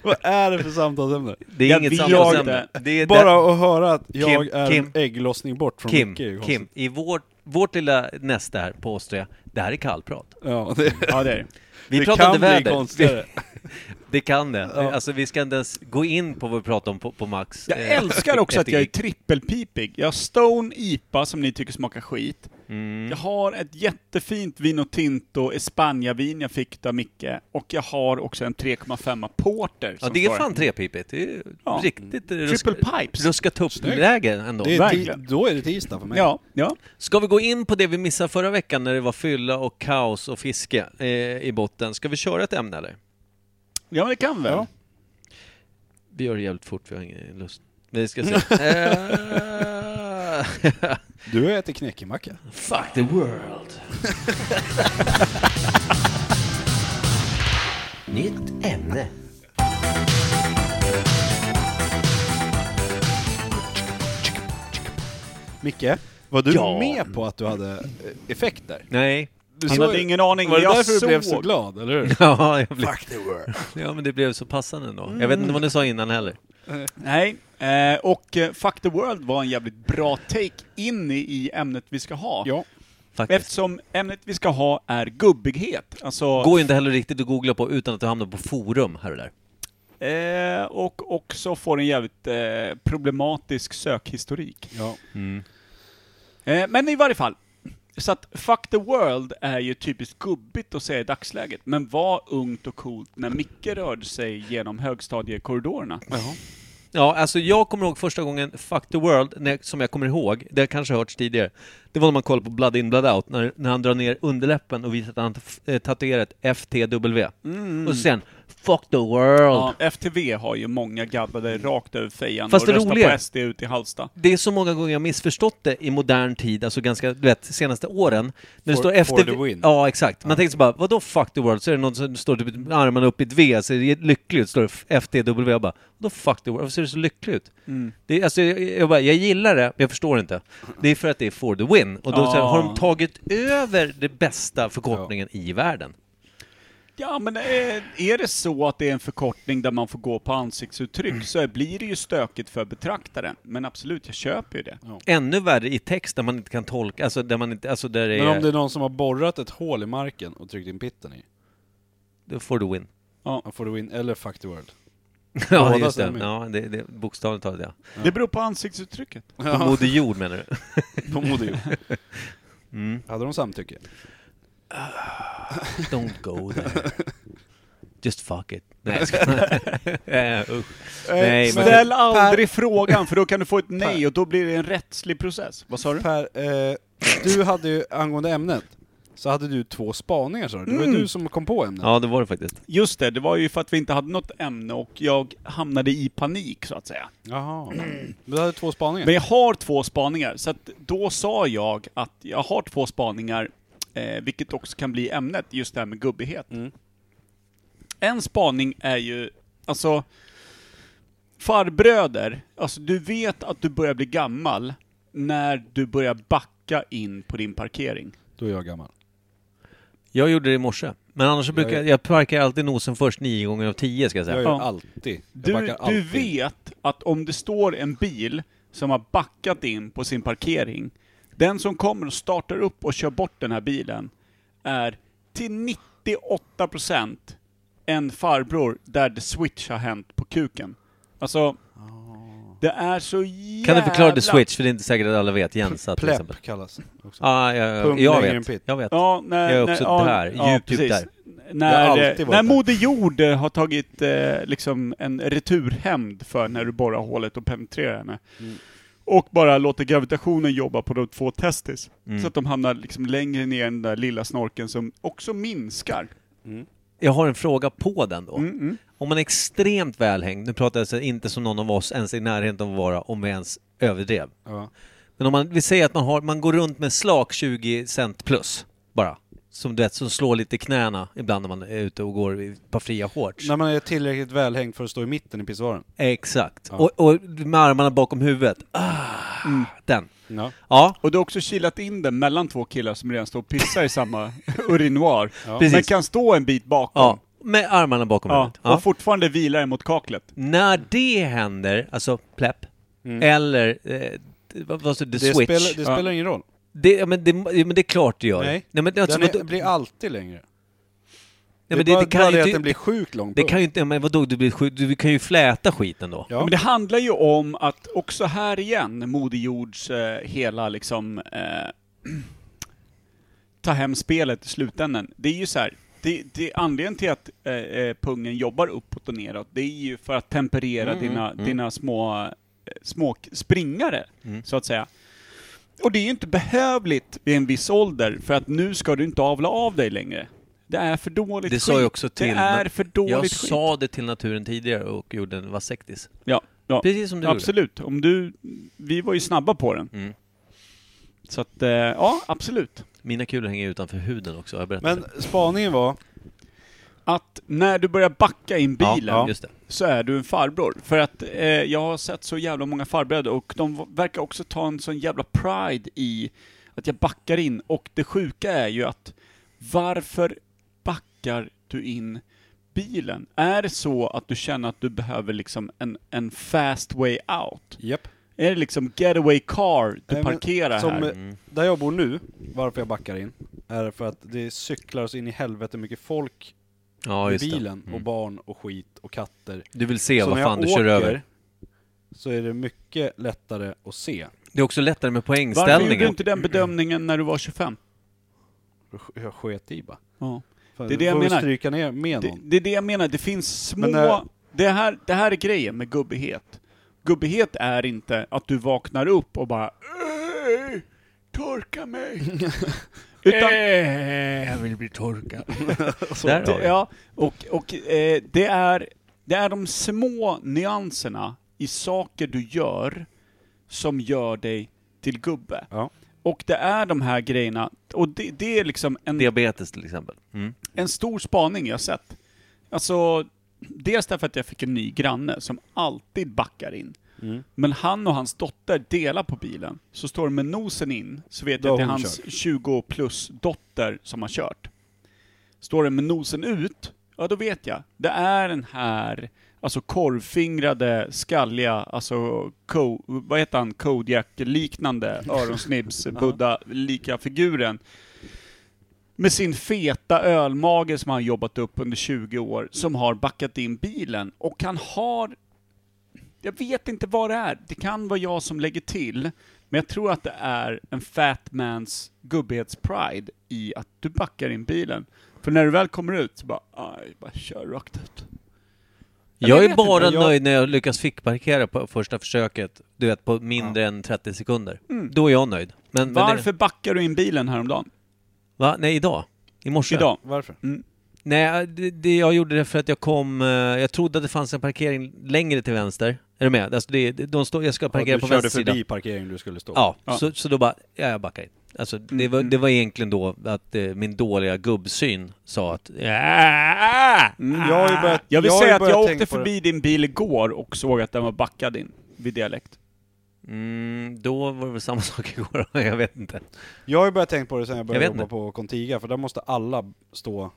Vad är det för samtalsämne? Det är Jag inget vill samtalsämne. inte. Det är där- Bara att höra att jag Kim, är Kim. en ägglossning bort från Kim, Micke är ju Kim, konstigt. i vårt, vårt lilla nästa här, påstår jag, det här är kallprat. Ja, det, Ja, det är det. Vi det pratar kan inte bli väder. konstigare. Det kan det. Alltså vi ska inte ens gå in på vad vi pratar om på, på Max. Jag eh, älskar också att jag är etik. trippelpipig. Jag har Stone IPA som ni tycker smakar skit. Mm. Jag har ett jättefint Vino Tinto Espanja-vin jag fick av Micke. Och jag har också en 3,5 Porter. Ja, som det är står fan här. trepipigt. Det är ju Ja. riktigt Triple Pipes. ruskatuppläge ändå. Det är ti- Verkligen. då är det tisdag för mig. Ja, ja. Ska vi gå in på det vi missade förra veckan när det var fylla och kaos och fiske eh, i botten? Ska vi köra ett ämne eller? ja, men det kan väl. Ja. Vi gör det jävligt fort, vi har ingen lust. Vi ska se. Eh, Du har ätit knäckemacka. Fuck the world. Nytt ämne. Micke, var du Ja. med på att du hade eh, effekter? Nej. Du såg- hade ingen aning. Var det jag därför såg. du blev så glad, eller hur? Ja, jag blev, Fuck the world. Mm. ja, men det blev så passande ändå. Jag vet inte vad du sa innan heller. Nej, eh, och eh, Fuck the World var en jävligt bra take in i- i ämnet vi ska ha. Ja. Faktiskt. Eftersom ämnet vi ska ha är gubbighet. Alltså, Går ju inte heller riktigt att googla på utan att du hamnar på forum här och där. eh, och också får en jävligt eh, problematisk sökhistorik. Ja. Mm. Eh, men i varje fall. Så att Fuck the World är ju typiskt gubbigt att säga i dagsläget, men var ungt och coolt när Micke rörde sig genom högstadiekorridorerna. Ja, alltså jag kommer ihåg första gången Fuck the World, när, som jag kommer ihåg, det har kanske hörts tidigare. Det var när man kollade på Blood In Blood Out, när, när han drar ner underläppen och visar att han f- eh, tatuerat FTW. Mm. Och sen Fuck the World. Ja, FTV har ju många gaddade rakt över fejan Fast det och röstar roliga- på SD ut i Halsta. Det är så många gånger jag missförstått det i modern tid, alltså ganska, du vet, senaste åren. När det For- står efter... for the win. Ja, exakt. Man tänker så bara, vadå fuck the world? Så är det någon som står typ med armarna upp i ett V, ser lycklig ut, står det FTW. Jag bara, vadå fuck the world? Varför ser du så lycklig ut? Det, är- alltså, jag, jag, bara, jag gillar det, men jag förstår inte. Det är för att det är for the win. Och då så här, Ja. har de tagit över det bästa förkortningen i världen. Ja, men är, är det så att det är en förkortning där man får gå på Mm. ansiktsuttryck så blir det ju stökigt för betraktaren. Men absolut, jag köper ju det. Ännu värre i text där man inte kan tolka, alltså där man inte, alltså där det Men om det är är någon som har borrat ett hål i marken och tryckt in pitten i, for the win. då får du in, eller fuck the world. Ja, Båda just det. stämmer ju. Ja, det, det, bokstavligt talat ja. Det beror på ansiktsuttrycket. På Moder Jord menar du? På Modo Hade de samtycke? Don't go there. Just fuck it. Nej, jag skojar. Eh, usch. Nej, men... Ställ aldrig frågan, för då kan du få ett nej och då blir det en rättslig process. Vad sa du? Per, eh, du hade ju, angående ämnet, så hade du två spaningar sa du. Det var Mm. ju du som kom på ämnet. Ja, det var det faktiskt. Just det, det var ju för att vi inte hade något ämne och jag hamnade i panik, så att säga. Jaha. Men du hade två spaningar? Men jag har två spaningar, så att då sa jag att jag har två spaningar, eh, vilket också kan bli ämnet, just det här med gubbighet. En spaning är ju, alltså, farbröder, alltså du vet att du börjar bli gammal när du börjar backa in på din parkering. Då är jag gammal. Jag gjorde det i morse. Men annars så brukar jag, jag parkera alltid nosen först nio gånger av tio ska jag Jag säga. gör Ja. alltid. Jag Du, backar du alltid. vet att om det står en bil som har backat in på sin parkering, den som kommer och startar upp och kör bort den här bilen är till 98% en farbror där the switch har hänt på kuken. Ah. Alltså, det är så jävla... Kan du förklara the switch? För det är inte säkert att alla vet. Jensa till exempel. Plepp kallas det också. Ah, ja, ja, Pung jag längre än vet. pitt. Jag vet. Ja, när, Jag är också när, där, ja, djupt, djupt precis. där. Jag har När, alltid varit när där. Moder Jord eh, har tagit eh, liksom en returhämnd för när du borrar hålet och penetrerar henne. Mm. Och bara låter gravitationen jobba på de två testis. Mm. Så att de hamnar liksom längre ner i den där lilla snorken som också minskar. Jag har en fråga på den då. Mm, mm. Om man är extremt välhängd, nu pratar jag alltså inte som någon av oss ens i närheten av att vara, om vi ens överdrev. Ja. Men om man, vi säger att man, har, man går runt med slak 20 cent plus, bara. Som du vet, som slår lite i knäna ibland när man är ute och går i ett par fria shorts. När man är tillräckligt välhängd för att stå i mitten i pissoaren. Exakt. Och, och med armarna bakom huvudet. Ah, Mm. Den. Ja. Ja, Och du har också kilat in den mellan två killar som redan står och pissar i samma urinoir. Men precis. kan stå en bit bakom. Ja, Mm. med armarna bakom Ja, huvudet. och Ja. fortfarande vilar den mot kaklet. När det händer, alltså plepp, eller eh, vad vad sa du, the Mm. Det, switch. spelar, det spelar ingen roll. Det, ja, men det, ja, men det är klart det gör. Nej. men, alltså, den är, vadå- blir alltid längre. nej, det, men är bara, det, det bara kan ju det att inte... den blir sjukt lång. Det punkt. kan ju inte... ja, Men vadå, du, blir sjuk, du kan ju fläta skiten då. Ja. Ja. Men det handlar ju om att också här igen, Moder Jords eh, hela liksom eh, ta hem spelet i slutändan. Det är ju så här, det, det, anledningen till att eh, eh, pungen jobbar uppåt och neråt, det är ju för att temperera Mm, dina, dina små, eh, små k- springare, Mm. så att säga. Och det är ju inte behövligt vid en viss ålder, för att nu ska du inte avla av dig längre. Det är för dåligt Det skit. sa jag också till... Det är för dåligt Jag skit. sa det till naturen tidigare och gjorde en vasektis. Ja, ja. Precis som du gjorde. Absolut. Om du, vi var ju snabba på den. Mm. Så att, eh, ja, absolut. Mina kulor hänger utanför huden också, har jag berättat. Men spaningen var, att när du börjar backa in bilen Ja, just det. så är du en farbror. För att eh, jag har sett så jävla många farbröder och de v- verkar också ta en sån jävla pride i att jag backar in. Och det sjuka är ju att varför backar du in bilen? Är det så att du känner att du behöver liksom en, en fast way out? Japp. Är det liksom getaway car du Nej, men parkerar som, här? eh, Mm. Där jag bor nu, varför jag backar in, är för att det cyklar så in i helvete mycket folk Ja, i just det. Mm. bilen och barn och skit och katter. Du vill se så vad när jag fan du kör över. så är det mycket lättare att se. Det är också lättare med Varför gjorde du poängställningen. inte den bedömningen när du var 25? Jag sket i bara. Ja. Fan, Det är du det jag får ju menar. stryka ner med Det, någon. det är det jag menar, det finns små... Men, eh, det, här, det här är grejen med gubbighet. Gubbighet är inte att du vaknar upp och bara "Ey, Torka mig! Utan, Eh. jag vill bli torkad. Där har vi. ja, och, och eh, det, är, det är de små nyanserna i saker du gör som gör dig till gubbe. Ja. Och det är de här grejerna, och det, det är liksom en Diabetes till exempel. Mm. en stor spaning jag sett. Alltså, dels därför att jag fick en ny granne som alltid backar in. Mm. Men han och hans dotter delar på bilen. Så står de med nosen in, så vet Då har jag att det är hon hans 20 plus dotter som har kört. Står den med nosen ut, ja då vet jag. Det är den här, alltså korvfingrade, skalliga, alltså, ko, vad heter han, Kodiak-liknande öronsnibs, Buddha-lika figuren med sin feta ölmage som han jobbat upp under 20 år, som har backat in bilen. Och han har... Jag vet inte vad det är. Det kan vara jag som lägger till, men jag tror att det är en fat mans gubbighetspride i att du backar in bilen. För när du väl kommer ut så bara, aj, bara kör rakt ut. Jag är vet bara inte, jag- nöjd när jag lyckas fickparkera på första försöket, du vet på mindre än 30 sekunder. Mm. Då är jag nöjd. Men, Men Varför backar du in bilen häromdagen? det, va? Nej, idag. I morse. Idag? Varför? Nej, det, det jag gjorde det för att jag kom... eh, Jag trodde att det fanns en parkering längre till vänster. Är du med? Alltså det, det- de står, jag ska parkera Ja, på du vänster körde sida. förbi parkeringen du skulle stå. Ja, Ja. Så, så då bara, ja, jag backar in. Alltså, det, var, Mm. det var egentligen då att eh, min dåliga gubbsyn sa att... Ja, Mm, Jag har ju börjat, Ah. Jag vill har ju säga att börjat jag tänka åkte på det. förbi din bil igår och såg att den var backad in, vid dialekt. mm, då var det väl samma sak igår, jag vet inte. Jag har ju börjat tänka på det sen jag började Jag vet jobba inte. på Contiga, för där måste alla stå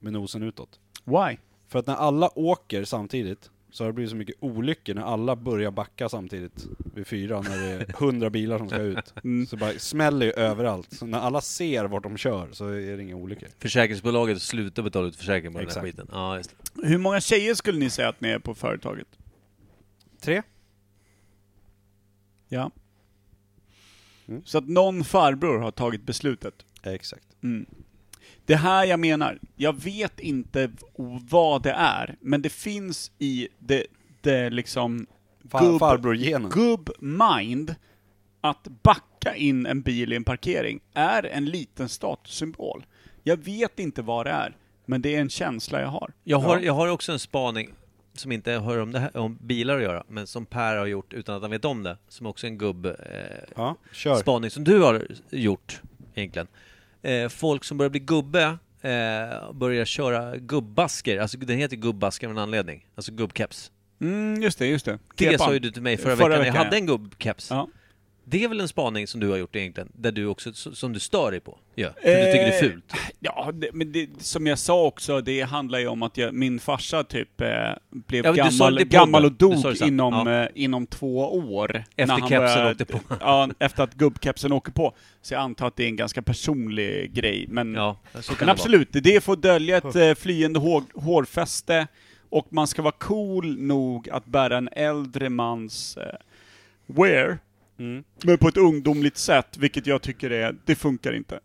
med nosen utåt. Why? För att när alla åker samtidigt så har det blivit så mycket olyckor när alla börjar backa samtidigt vid fyra när det är hundra bilar som ska ut. Så bara smäller ju överallt. Så när alla ser vart de kör så är det inga olyckor. Försäkringsbolaget slutar betala ut försäkring på den Exakt. här skiten. Ja, just det. Hur många tjejer skulle ni säga att ni är på företaget? Tre? Ja. Så att någon farbror har tagit beslutet. Mm. Exakt. Det här jag menar, jag vet inte v- vad det är, men det finns i det, det liksom Fa Gubb- Farbrorgenen. gubb-mind att backa in en bil i en parkering är en liten statussymbol. Jag vet inte vad det är, men det är en känsla jag har. Jag har, jag har också en spaning som inte hör om, det här, om bilar att göra, men som Per har gjort utan att han vet om det, som också är en gubb... Eh, Ja, kör. spaning som du har gjort egentligen. Eh, folk som börjar bli gubbe eh, börjar köra gubbasker, alltså den heter gubbasker av en anledning, alltså gubbkeps. Mm, just det, just det. Det Kepan. sa ju du till mig förra, veckan, jag hade en gubbkeps. Ja. Det är väl en spaning som du har gjort egentligen, där du också, s- som du stör dig på? Ja, för du tycker det är Eh, fult? Ja, det, men det, som jag sa också, det handlar ju om att jag, min farsa typ eh, blev Ja, men du sa gammal, det i podden. gammal och Du sa dog det sen. inom, Ja. eh, inom två år. Efter kepsen började- åkte på. Ja, efter att gubbkepsen åker på. Så jag antar att det är en ganska personlig grej, men, Ja, så kan men det absolut, det är för att dölja ett eh, flyende hår, hårfäste och man ska vara cool nog att bära en äldre mans eh, wear, Mm. men på ett ungdomligt sätt, vilket jag tycker är, det funkar inte.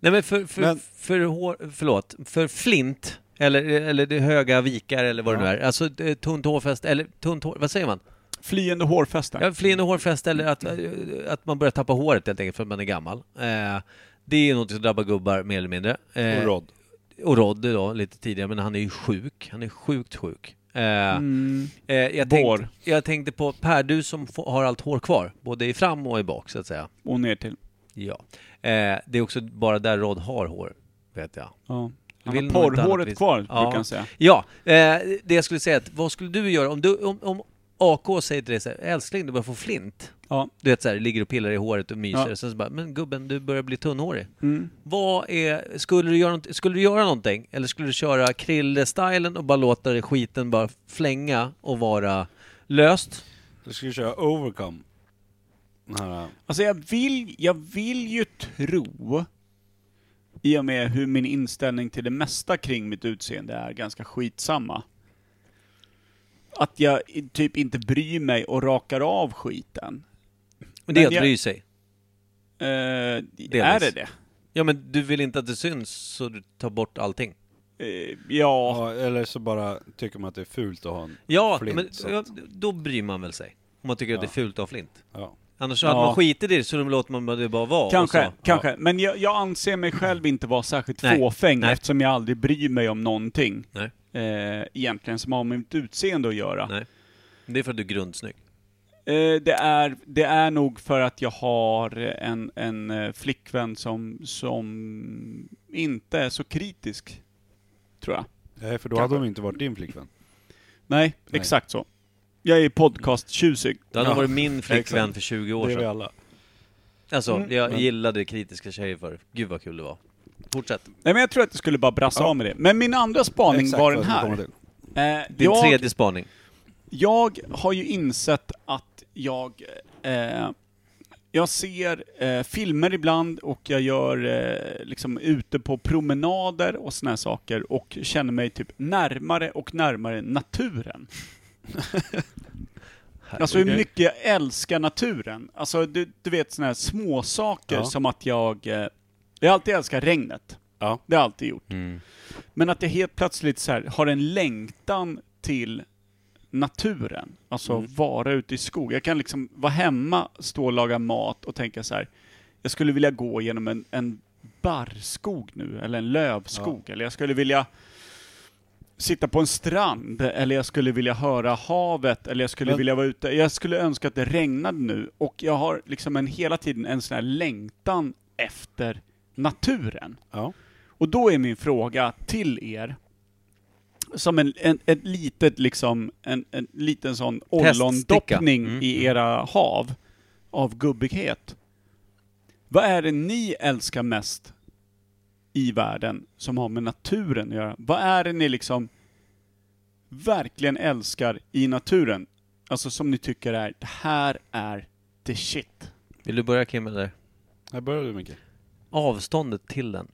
Nej men för, för, Men- för hår, förlåt, för flint, eller, eller det höga vikar eller vad det nu är, alltså eh, tunt hårfäste, eller tunt hår, vad säger man? Flyende hårfäste. Ja, fleende hårfäste eller att, eh, att man börjar tappa håret helt enkelt för att man är gammal. Eh, det är ju något som drabbar gubbar mer eller mindre. Eh, Och Rod. Och Rodde då, lite tidigare, men han är ju sjuk. Han är sjukt sjuk. Eh, Mm. Mm. eh, jag, Vår. tänkte, jag tänkte på Per, du som få- har allt hår kvar, både i fram och i bak så att säga. Och ner till. Ja. Eh, det är också bara där Rod har hår, vet jag. Ja. Han vill har nog inte annat porrhåret vis. kvar, Ja. brukar jag säga. Ja, eh, det jag skulle säga är att vad skulle du göra om, du, om, om AK säger till dig så här, älskling du börjar få flint. Ja. Du vet så här, ligger och pillar i håret och myser. Ja. Mm. Sen så bara, men gubben du börjar bli tunnhårig. Vad är, skulle du, göra, nånt- skulle du göra någonting? Eller skulle du köra Krille-stylen och bara låta det skiten bara flänga och vara löst? Du skulle köra overcome. Den här, Alltså jag vill, jag vill ju tro, i och med hur min inställning till det mesta kring mitt utseende är ganska skitsamma, att jag i- typ inte bryr mig och rakar av skiten. Men det är Men att jag- bry sig. Eh, är det det? Ja men du vill inte att det syns så du tar bort allting. Eh, ja, ja, eller så bara tycker man att det är fult att ha en... Ja, Flint, men så att- då bryr man väl sig. Om man tycker att det är fult att ha flint. Ja. Annars hade Ja. man skitit i det så då låter man det bara vara. och kanske. så- kanske. Men jag, jag anser mig själv inte vara särskilt Nej, fåfäng nej. eftersom jag aldrig bryr mig om någonting Nej. eh, egentligen som har med mitt utseende att göra. Nej. Det är för att du är grundsnygg. Eh, det, är, det är nog för att jag har en, en eh, flickvän som, som inte är så kritisk, tror jag. Nej, för då hade hon inte varit din flickvän. Nej, exakt så. Jag är podcasttjusig. Det hade Ja. varit min flickvän exakt. för 20 år Det är Mm. vi sedan. alla. Alltså, jag gillade kritiska tjejer förr. Gud vad kul det var. Fortsätt. Nej, men jag tror att jag skulle bara brassa av med det. Men min andra spaning Exakt var vad den jag skulle komma här. till. Eh, Din jag, tredje spaning. jag har ju insett att jag... Eh, jag ser eh, filmer ibland och jag gör eh, liksom ute på promenader och såna här saker och känner mig typ närmare och närmare naturen. alltså hur mycket jag älskar naturen. Alltså du, du vet såna här små saker Ja. som att jag... Eh, jag har alltid älskat regnet. Ja. Mm. Det har jag alltid gjort. Men att jag helt plötsligt så här, har en längtan till naturen. Alltså vara ute i skog. Jag kan liksom vara hemma, stå och laga mat och tänka så här. Jag skulle vilja gå genom en, en barrskog nu, eller en lövskog. Eller jag skulle vilja sitta på en strand, eller jag skulle vilja höra havet, eller jag skulle Men- vilja vara ute. Jag skulle önska att det regnade nu. Och jag har liksom en, hela tiden en sån här längtan efter naturen. Ja. Och då är min fråga till er, som en, en ett litet liksom, en, en liten sån Teststicka. ollondoppning Mm. i era hav av gubbighet. Vad är det ni älskar mest i världen som har med naturen att göra? Vad är det ni liksom verkligen älskar i naturen? Alltså som ni tycker är, det här är the shit. Vill du börja Kim eller? Här börjar du Micke. Avståndet till den.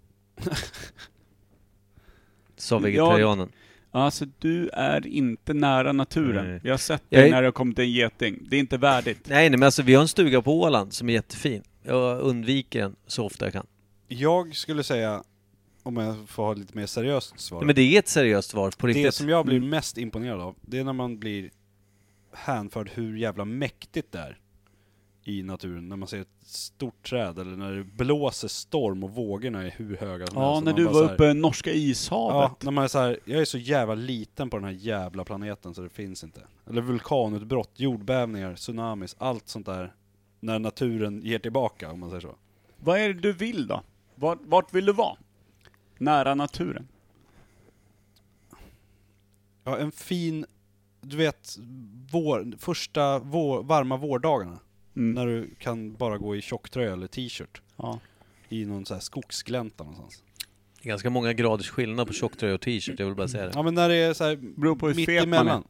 Sa Jag- vegetarianen. Alltså du är inte nära naturen. Nej. Jag har sett Jag dig är- när det har kommit en geting. Det är inte värdigt. Nej, nej men alltså vi har en stuga på Åland som är jättefin. Jag undviker den så ofta jag kan. Jag skulle säga, om jag får ha lite mer seriöst svar. Nej, men det är ett seriöst svar på riktigt. det som jag blir mest imponerad av, det är när man blir hänförd hur jävla mäktigt det är i naturen. När man ser ett stort träd eller när det blåser storm och vågorna är hur höga som Ja, helst. Och Alltså, när man du bara var så här- uppe i norska Ja, ishavet. när man är så här, jag är så jävla liten på den här jävla planeten så det finns inte. Eller vulkanutbrott, jordbävningar, tsunamis, allt sånt där. När naturen ger tillbaka, om man säger så. Vad är det du vill då? Vart, vart vill du vara? Nära naturen. Ja, en fin, du vet, vår, första vår, varma vårdagarna. Mm. När du kan bara gå i tjocktröja eller t-shirt. Ja. I någon så här skogsglänta någonstans. Det är ganska många graders skillnad på tjocktröja och t-shirt, jag vill bara säga det. Ja men när det är så här Beror på hur mitt fet man är. emellan.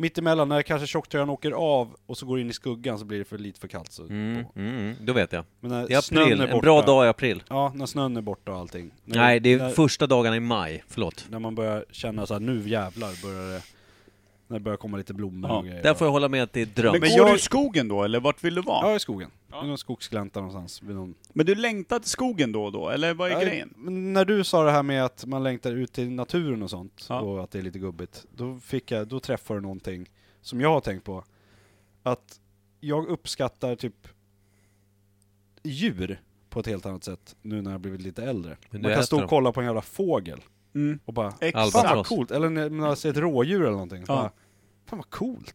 Mitt emellan, när kanske tjocktröjan åker av och så går in i skuggan så blir det för lite för kallt. Så Mm, på. mm, mm, då vet jag. Men när I april, snön är en borta. bra dag i april. Ja, när snön är borta och allting. När, Nej, det är när, första dagarna i maj. Förlåt. när man börjar känna så här, nu jävlar börjar det... När det börjar komma lite blommor Ja, och grejer. Där får jag hålla med att det är dröm. Men, Men går jag- du i skogen då, eller vart vill du vara? Ja, i skogen. I någon skogsglänta någonstans. Vid någon... Men du längtar till skogen då och då, eller vad är Ja, grejen? men när du sa det här med att man längtar ut till naturen och sånt, Ja. och att det är lite gubbigt. Då, fick jag, då träffade du någonting som jag har tänkt på. Att jag uppskattar typ djur på ett helt annat sätt nu när jag blivit lite äldre. Men du Man kan äter stå dem. och kolla på en jävla fågel Mm. och bara Exakt. Fan vad Albatross. coolt! Eller när man ser ett rådjur eller någonting. så Ja. Bara, Fan vad coolt!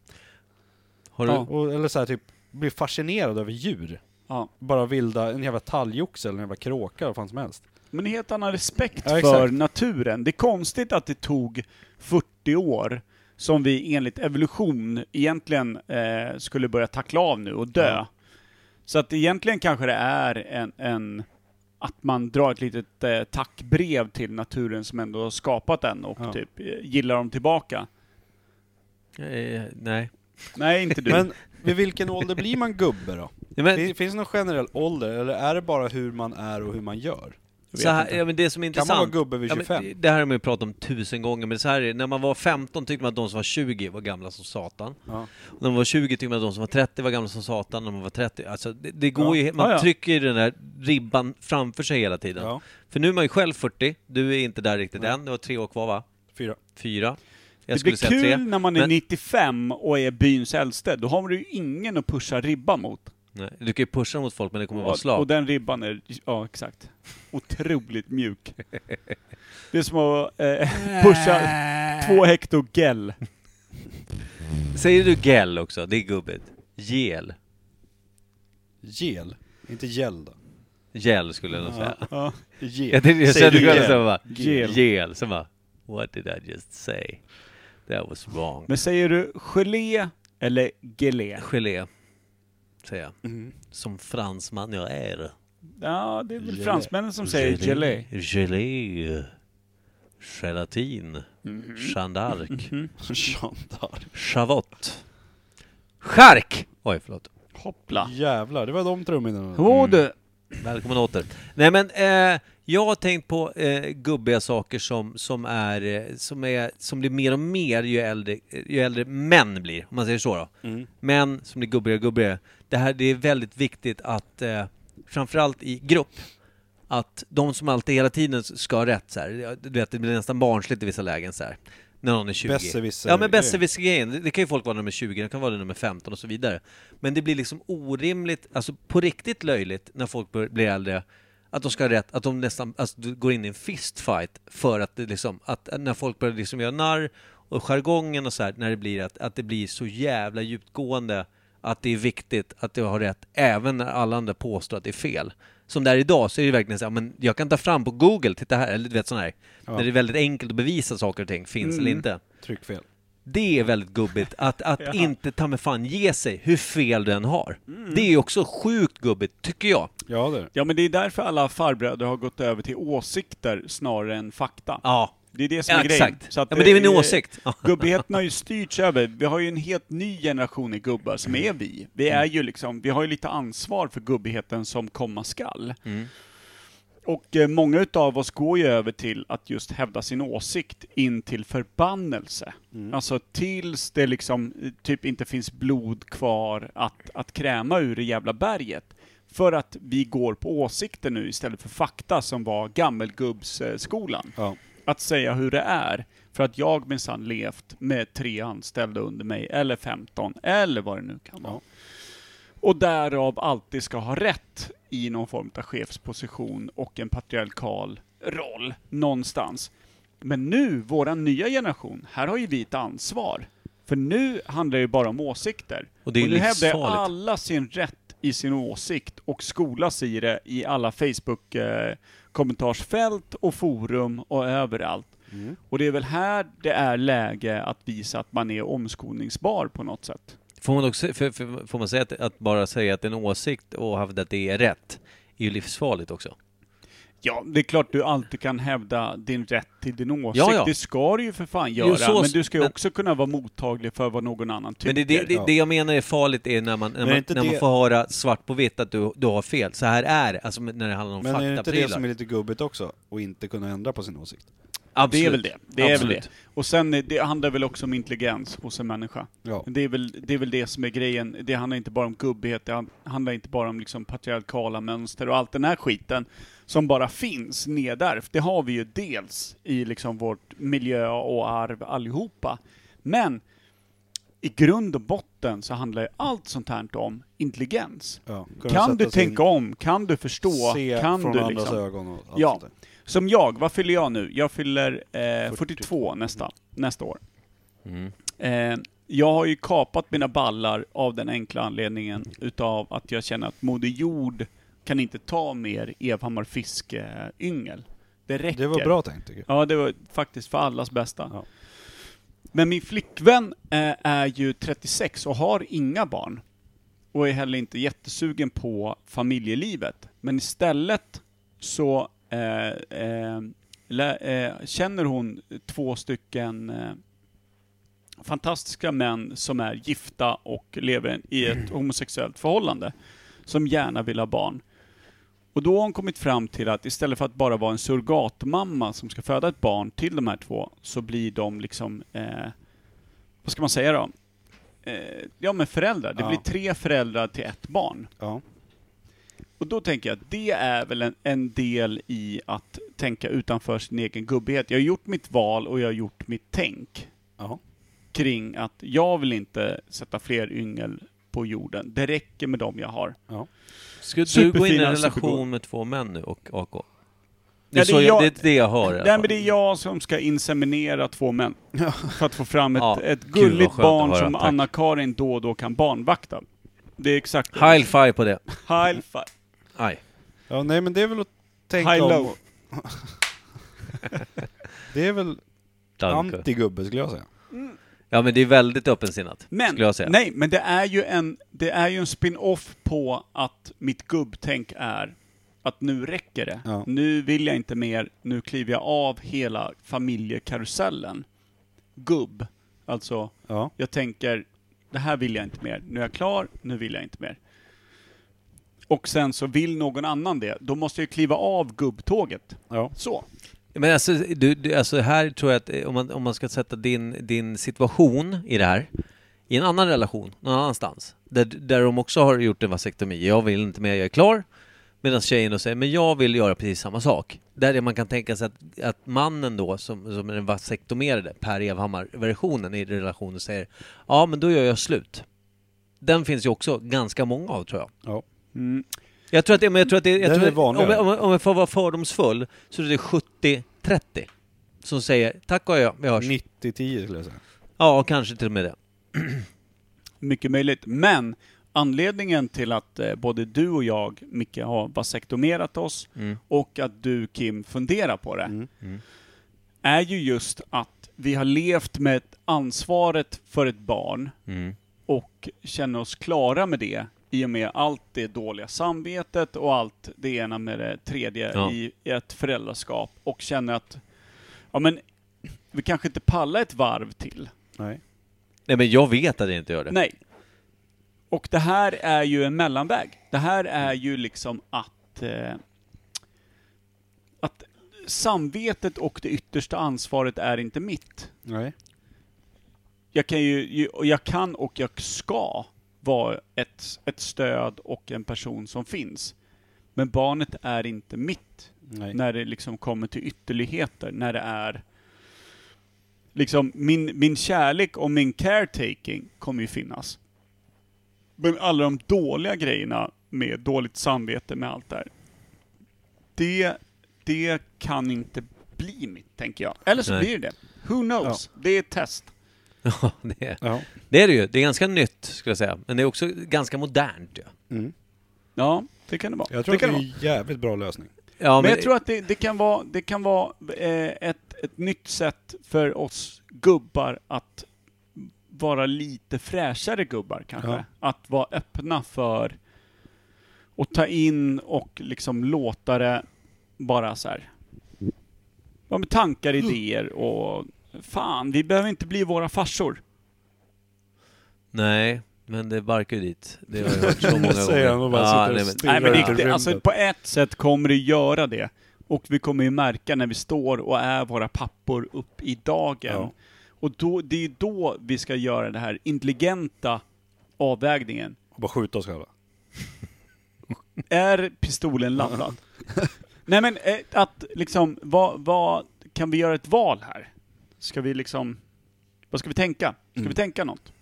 Har du, Ja. Och, eller så här, typ, blir fascinerad över djur. Ja. Bara vilda, en jävla talgoxe eller en jävla kråka eller vad fan som helst. Men en helt annan respekt Ja, för exakt. naturen. Det är konstigt att det tog 40 år som vi enligt evolution egentligen eh, skulle börja tackla av nu och dö. Så att egentligen kanske det är en, en att man drar ett litet eh, tackbrev till naturen som ändå har skapat den och typ eh, gillar dem tillbaka. Eh, nej. Nej, inte du. Mm. Men vid vilken ålder blir man gubbe då? Ja, Eh, men, Fin- Finns det någon generell ålder eller är det bara hur man är och hur man gör? så här, ja, men det som är Kan intressant... man vara gubbe vid Ja, men 25? det- det här har man ju pratat om tusen gånger, men så här är det. när man var 15 tyckte man att de som var 20 var gamla som satan. Ja. Och när man var 20 tyckte man att de som var 30 var gamla som satan, när man var 30, alltså det, det går ju, man Ja, ja. trycker ju den där ribban framför sig hela tiden. Ja. För nu är man ju själv 40, du är inte där riktigt än, du har tre år kvar va? Fyra. Fyra? Jag det skulle blir säga kul tre. när man är men- 95 och är byns äldste. Då har du ju ingen att pusha ribban mot. Nej, du kan ju pusha mot folk men det kommer Ja, vara slag. Och den ribban är, ja exakt, otroligt mjuk. Det är som att eh, pusha två hekto gel. Säger du gel också? Det är gubbigt. Gel. Gel, inte gäll då. Gel skulle jag nog säga. Ja. Gel. Jag tänkte, jag Säger kände du själv gel? så bara, Gel. gel. Så bara, what did I just say? That was wrong. Men säger du gelé eller gelé? Gelé, säger jag. Som fransman jag är. Ja, det är väl fransmännen som säger gelé. Gelé. Gelatin. Jeanne d'Arc. Jean d'Arc. Chavott. Chark! Oj, förlåt. Hoppla. Jävlar, det var de trumminnena. Hur du? Mm. Välkommen åter. Nej men, eh, jag har tänkt på eh, gubbiga saker som, som, är, eh, som, är, som blir mer och mer ju äldre, ju äldre män blir, om man säger så då. Män som blir gubbigare och gubbigare. Det här det är väldigt viktigt att, eh, framförallt i grupp, att de som alltid hela tiden ska ha rätt så här. Du vet, det blir nästan barnsligt i vissa lägen så här. När någon är 20. Besserwisser- Ja men besserwisser-grejen, Alltså, det- det kan ju folk vara nummer 20, det kan vara nummer 15 och så vidare. Men det blir liksom orimligt, alltså på riktigt löjligt när folk bör- blir äldre, att de ska ha rätt, att de nästan alltså, du går in i en fistfight för att det liksom, att när folk börjar liksom göra narr och jargongen och så här, när det blir att, att det blir så jävla djupgående att det är viktigt att du har rätt även när alla andra påstår att det är fel. Som där idag så är det verkligen så här, men jag kan ta fram på Google, titta här, eller du vet sån här, när det är väldigt enkelt att bevisa saker och ting finns eller inte. Tryckfel. Det är väldigt gubbigt, att, att inte ta med fan ge sig hur fel den har. Det är också sjukt gubbigt, tycker jag. Ja det är det. Ja men det är därför alla farbröder har gått över till åsikter snarare än fakta. Ja. Det är det som Ja, är grejen. exakt. Ja, men det är min åsikt. Gubbigheten har ju styrts över, vi har ju en helt ny generation i gubbar som är vi. Vi är ju liksom, vi har ju lite ansvar för gubbigheten som komma skall. Mm. Och eh, många utav oss går ju över till att just hävda sin åsikt in till förbannelse. Alltså tills det liksom eh, typ inte finns blod kvar att, att kräma ur det jävla berget. För att vi går på åsikter nu istället för fakta som var gammelgubbsskolan Ja. att säga hur det är. För att jag minsann levt med tre anställda under mig, eller 15, eller vad det nu kan vara. Och därav alltid ska ha rätt i någon form av chefsposition och en patriarkal roll någonstans. Men nu, våran nya generation, här har ju vi ett ansvar. För nu handlar det ju bara om åsikter. Och det är ju nu hävdar ju livsfarligt. alla sin rätt i sin åsikt och skolas i det i alla Facebook eh, kommentarsfält och forum och överallt. Mm. Och det är väl här det är läge att visa att man är omskolningsbar på något sätt. Får man, också, för, för, får man säga att, att bara säga att en åsikt och hävda att det är rätt, är ju livsfarligt också. Ja, det är klart du alltid kan hävda din rätt till din åsikt. Ja, ja. Det ska du ju för fan göra. så- men du ska ju men- också kunna vara mottaglig för vad någon annan tycker. Men det, det, det, det jag menar är farligt är när man, när är man, inte när man det- får höra svart på vitt att du, du har fel. Så här är det, alltså när det handlar om Men är det inte det som är faktaprylar. lite gubbigt också? Och inte kunna ändra på sin åsikt? Absolut. Det är väl det. Det är väl Absolut. det. Och sen, eh, det handlar väl också om intelligens hos en människa. Ja. Det, är väl, det är väl det som är grejen. Det handlar inte bara om gubbighet, det han- handlar inte bara om liksom patriarkala mönster och allt den här skiten som bara finns nedärvt. Det har vi ju dels i liksom vårt miljö och arv allihopa. Men i grund och botten så handlar ju allt sånt här om intelligens. Ja. Kunna Kan du sätta sig in- tänka om? Kan du förstå? Se kan från du andras liksom... ögon och allt Ja. sånt där. Som jag, vad fyller jag nu? Jag fyller eh, 42 nästa, nästa år. Eh, Jag har ju kapat mina ballar av den enkla anledningen utav att jag känner att Moder Jord kan inte ta mer Evhammar Fiske-yngel. Det räcker. Det var bra tänkt tycker jag. Ja, det var faktiskt för allas bästa. Ja. Men min flickvän eh, är ju 36 och har inga barn. Och är heller inte jättesugen på familjelivet. Men istället så eh, eh, lä, eh, känner hon två stycken eh, fantastiska män som är gifta och lever i ett homosexuellt förhållande. Som gärna vill ha barn. Och då har hon kommit fram till att istället för att bara vara en surrogatmamma som ska föda ett barn till de här två, så blir de liksom, eh, vad ska man säga då? Eh, ja men föräldrar. Det Ja. blir tre föräldrar till ett barn. Ja. Och då tänker jag att det är väl en, en del i att tänka utanför sin egen gubbighet. Jag har gjort mitt val och jag har gjort mitt tänk Ja. kring att jag vill inte sätta fler yngel på jorden. Det räcker med dem jag har. Ska du gå in i Superfina en supergod. relation med två män nu och AK? Det är, Ja, det är så jag, jag- det, är det jag hör i alla Nej, men fall. det är jag som ska inseminera två män. För att få fram ett, Ja, ett vad gulligt skönt att barn höra, som tack. Anna-Karin då och då kan barnvakta. Det är exakt det. High five på det. High five. Aj. ja, nej men det är väl att tänka High om. low. Det är väl Danko. antigubbe skulle jag säga. Ja, men det är väldigt öppensinnat, Men, skulle jag säga. nej, men det är ju en, det är ju en spin-off på att mitt gubbtänk är att nu räcker det. Ja. Nu vill jag inte mer, nu kliver jag av hela familjekarusellen. Gubb. Alltså, Ja. jag tänker, det här vill jag inte mer. Nu är jag klar, nu vill jag inte mer. Och sen så vill någon annan det, då måste jag ju kliva av gubbtåget. Ja. Så. Men alltså, du, du, alltså här tror jag att eh, om man, om man ska sätta din, din situation i det här, i en annan relation, någon annanstans, där, där de också har gjort en vasektomi, jag vill inte mer, jag är klar, medan tjejen då säger, men jag vill göra precis samma sak. Där är man kan tänka sig att, att mannen då, som, som är den vasektomerade, Per Evhammar-versionen i relationen, säger, ja men då gör jag slut. Den finns ju också ganska många av tror jag. Jag tror att det, men jag tror att det, Den jag tror är att, om, vanligare. jag- om, jag- om jag får vara fördomsfull så är det 70-30 som säger tack och jag, vi hörs. 90-10 skulle jag säga. Ja, kanske till och med det. Mycket möjligt. Men anledningen till att eh, både du och jag, Micke, har vasektomerat oss Mm. och att du, Kim, funderar på det, är ju just att vi har levt med ett ansvaret för ett barn Mm. och känner oss klara med det i och med allt det dåliga samvetet och allt det ena med det tredje Ja. i i ett föräldraskap och känner att ja, men, vi kanske inte pallar ett varv till. Nej. Nej, men jag vet att jag inte gör det. Nej. Och det här är ju en mellanväg. Det här är ju liksom att... Eh, att samvetet och det yttersta ansvaret är inte mitt. Nej. Jag kan ju, ju- och jag kan och jag ska vara ett, ett stöd och en person som finns. Men barnet är inte mitt Nej. när det liksom kommer till ytterligheter, när det är liksom min, min kärlek och min caretaking kommer ju finnas. Men alla de dåliga grejerna med dåligt samvete med allt det här. Det, det kan inte bli mitt, tänker jag. Eller så Nej. blir det det. Who knows? Det är ett test. Ja, det, är, Ja. det är det ju. Det är ganska nytt, skulle jag säga. Men det är också ganska modernt. Ja, Ja, det kan det vara. Jag tror att det kan är vara. en jävligt bra lösning. ja men jag tror att det, det kan vara, det kan vara eh, ett, ett nytt sätt för oss gubbar att vara lite fräschare gubbar kanske. Ja. Att vara öppna för att ta in och liksom låta det bara så här. Ja, med tankar, idéer och fan, vi behöver inte bli våra farsor. Nej, men det barkar ju dit. Det har jag hört så många gånger. Säger han och bara sitter och nej, men, stirrar. Nej men är det, rymden. det, alltså på ett sätt kommer det göra det. Och vi kommer ju märka när vi står och är våra pappor upp i dagen. Ja. Och då, det är ju då vi ska göra den här intelligenta avvägningen. Och bara skjuta oss själva. Är pistolen laddad? Nej men eh, att liksom, vad, vad, kan vi göra ett val här? Ska vi liksom, vad ska vi tänka? Ska vi tänka något?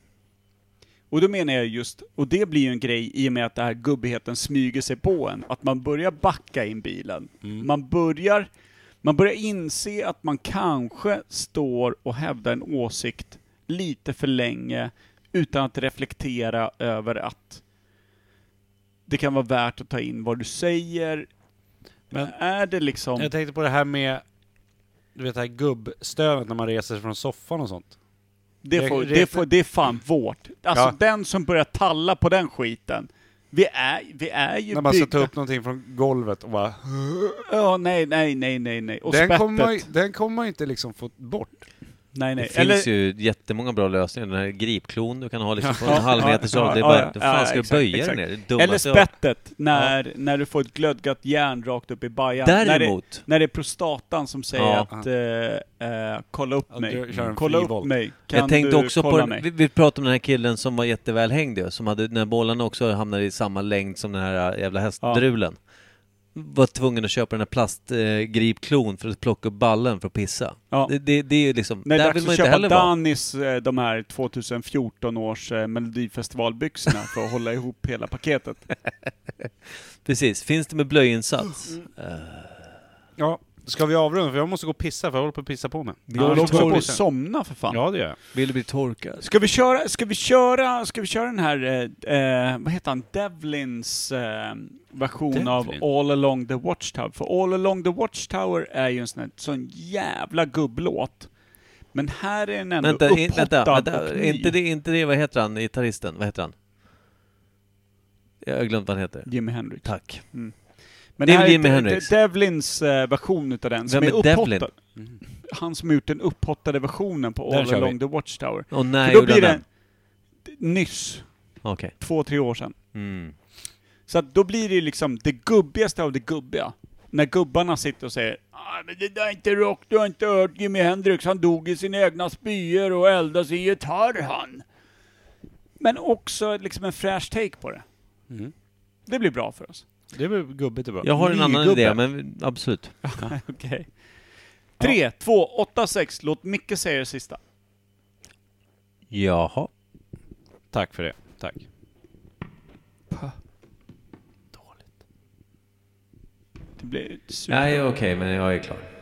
Och då menar jag just, och det blir ju en grej i och med att den här gubbigheten smyger sig på en, att man börjar backa in bilen. Man börjar, man börjar inse att man kanske står och hävdar en åsikt lite för länge utan att reflektera över att det kan vara värt att ta in vad du säger. Men Men- är det Mm. liksom... Jag tänkte på det här med, du vet det här gubbstönet när man reser sig från soffan och sånt. Det, Det- får, det- det, får, det är fan Mm. vårt. Alltså Ja. den som börjar talla på den skiten. Vi är, vi är ju När man ska byggda- ta upp någonting från golvet och bara... Ja, nej, nej, nej, nej, nej. Och Den spettet. kommer, man ju, den kommer man ju inte liksom få bort. Nej, Det nej. finns ju jättemånga bra lösningar. Den här gripklon du kan ha liksom på Ja, en halv ja, meters ja, avstånd. ja, Det är ja, bara, ja, fan ska jag exakt, böja exakt. den ner? Det är det Eller dummaste jag- spettet, när, när du får ett glödgat järn rakt upp i bajan. När det, Däremot, när det är prostatan som säger Ja. att eh, eh, kolla upp Att mig, Mm. du kör en kolla upp frivolt. mig, kan jag tänkte du också på, kolla den, mig? vi, vi pratade om den här killen som var jättevälhängd ju, som hade, när bollarna också hamnade i samma längd som den här äh, jävla hästdrulen. Var tvungen att köpa den här plastgripklon eh, gripklon för att plocka upp ballen för att pissa. Ja. Det, det, det är ju liksom, När det är där vill dags man att ju inte köpa heller vara. Dannis, eh, de här 2014 års eh, melodifestivalbyxorna för att hålla ihop hela paketet. Precis, finns det med blöjinsats? Mm. Äh. Ja. Ska vi avrunda? För jag måste gå och pissa, för jag håller på att pissa på mig. Du håller också går på vi att sen. somna för fan. Ja, det gör jag. Vill du bli torkad? Ska vi köra, ska vi köra, ska vi köra den här, eh, eh, vad heter han, Devlins eh, version av Devlin? All along the Watchtower? För All along the Watchtower är ju en sån, här, sån jävla gubblåt. Men här är den ändå Vänta, i, upphottad vänta, och vänta. ny. Inte, det, inte det, vad heter han, gitarristen? Vad heter han? Jag har glömt vad han heter. Jimi Hendrix. Tack. Men Det är här Jimi De- Hendrix. De- Devlins eh, version utav den som Vem är, är Devlin? upphottad. Han som har gjort den upphottade versionen på Den All kör vi. along the Watchtower. Och För när då gjorde blir han den den? nyss, Okej. två, tre år sedan. Mm. Så att då blir det ju liksom det gubbigaste av det gubbiga. När gubbarna sitter och säger ah, men det där är inte rock, du har inte hört Jimi Hendrix, han dog i sina egna spyor och eldade sin gitarr han. Men också liksom en fräsch take på det. Mm. Det blir bra för oss. Det blir gubbigt och bra. Jag har en annan Nygubbe. idé, men absolut. Okej. Tre, två, åtta, sex. Låt Micke säga det sista. Jaha. Tack för det. Tack. Det blir super. Nej, okej, men jag är klar.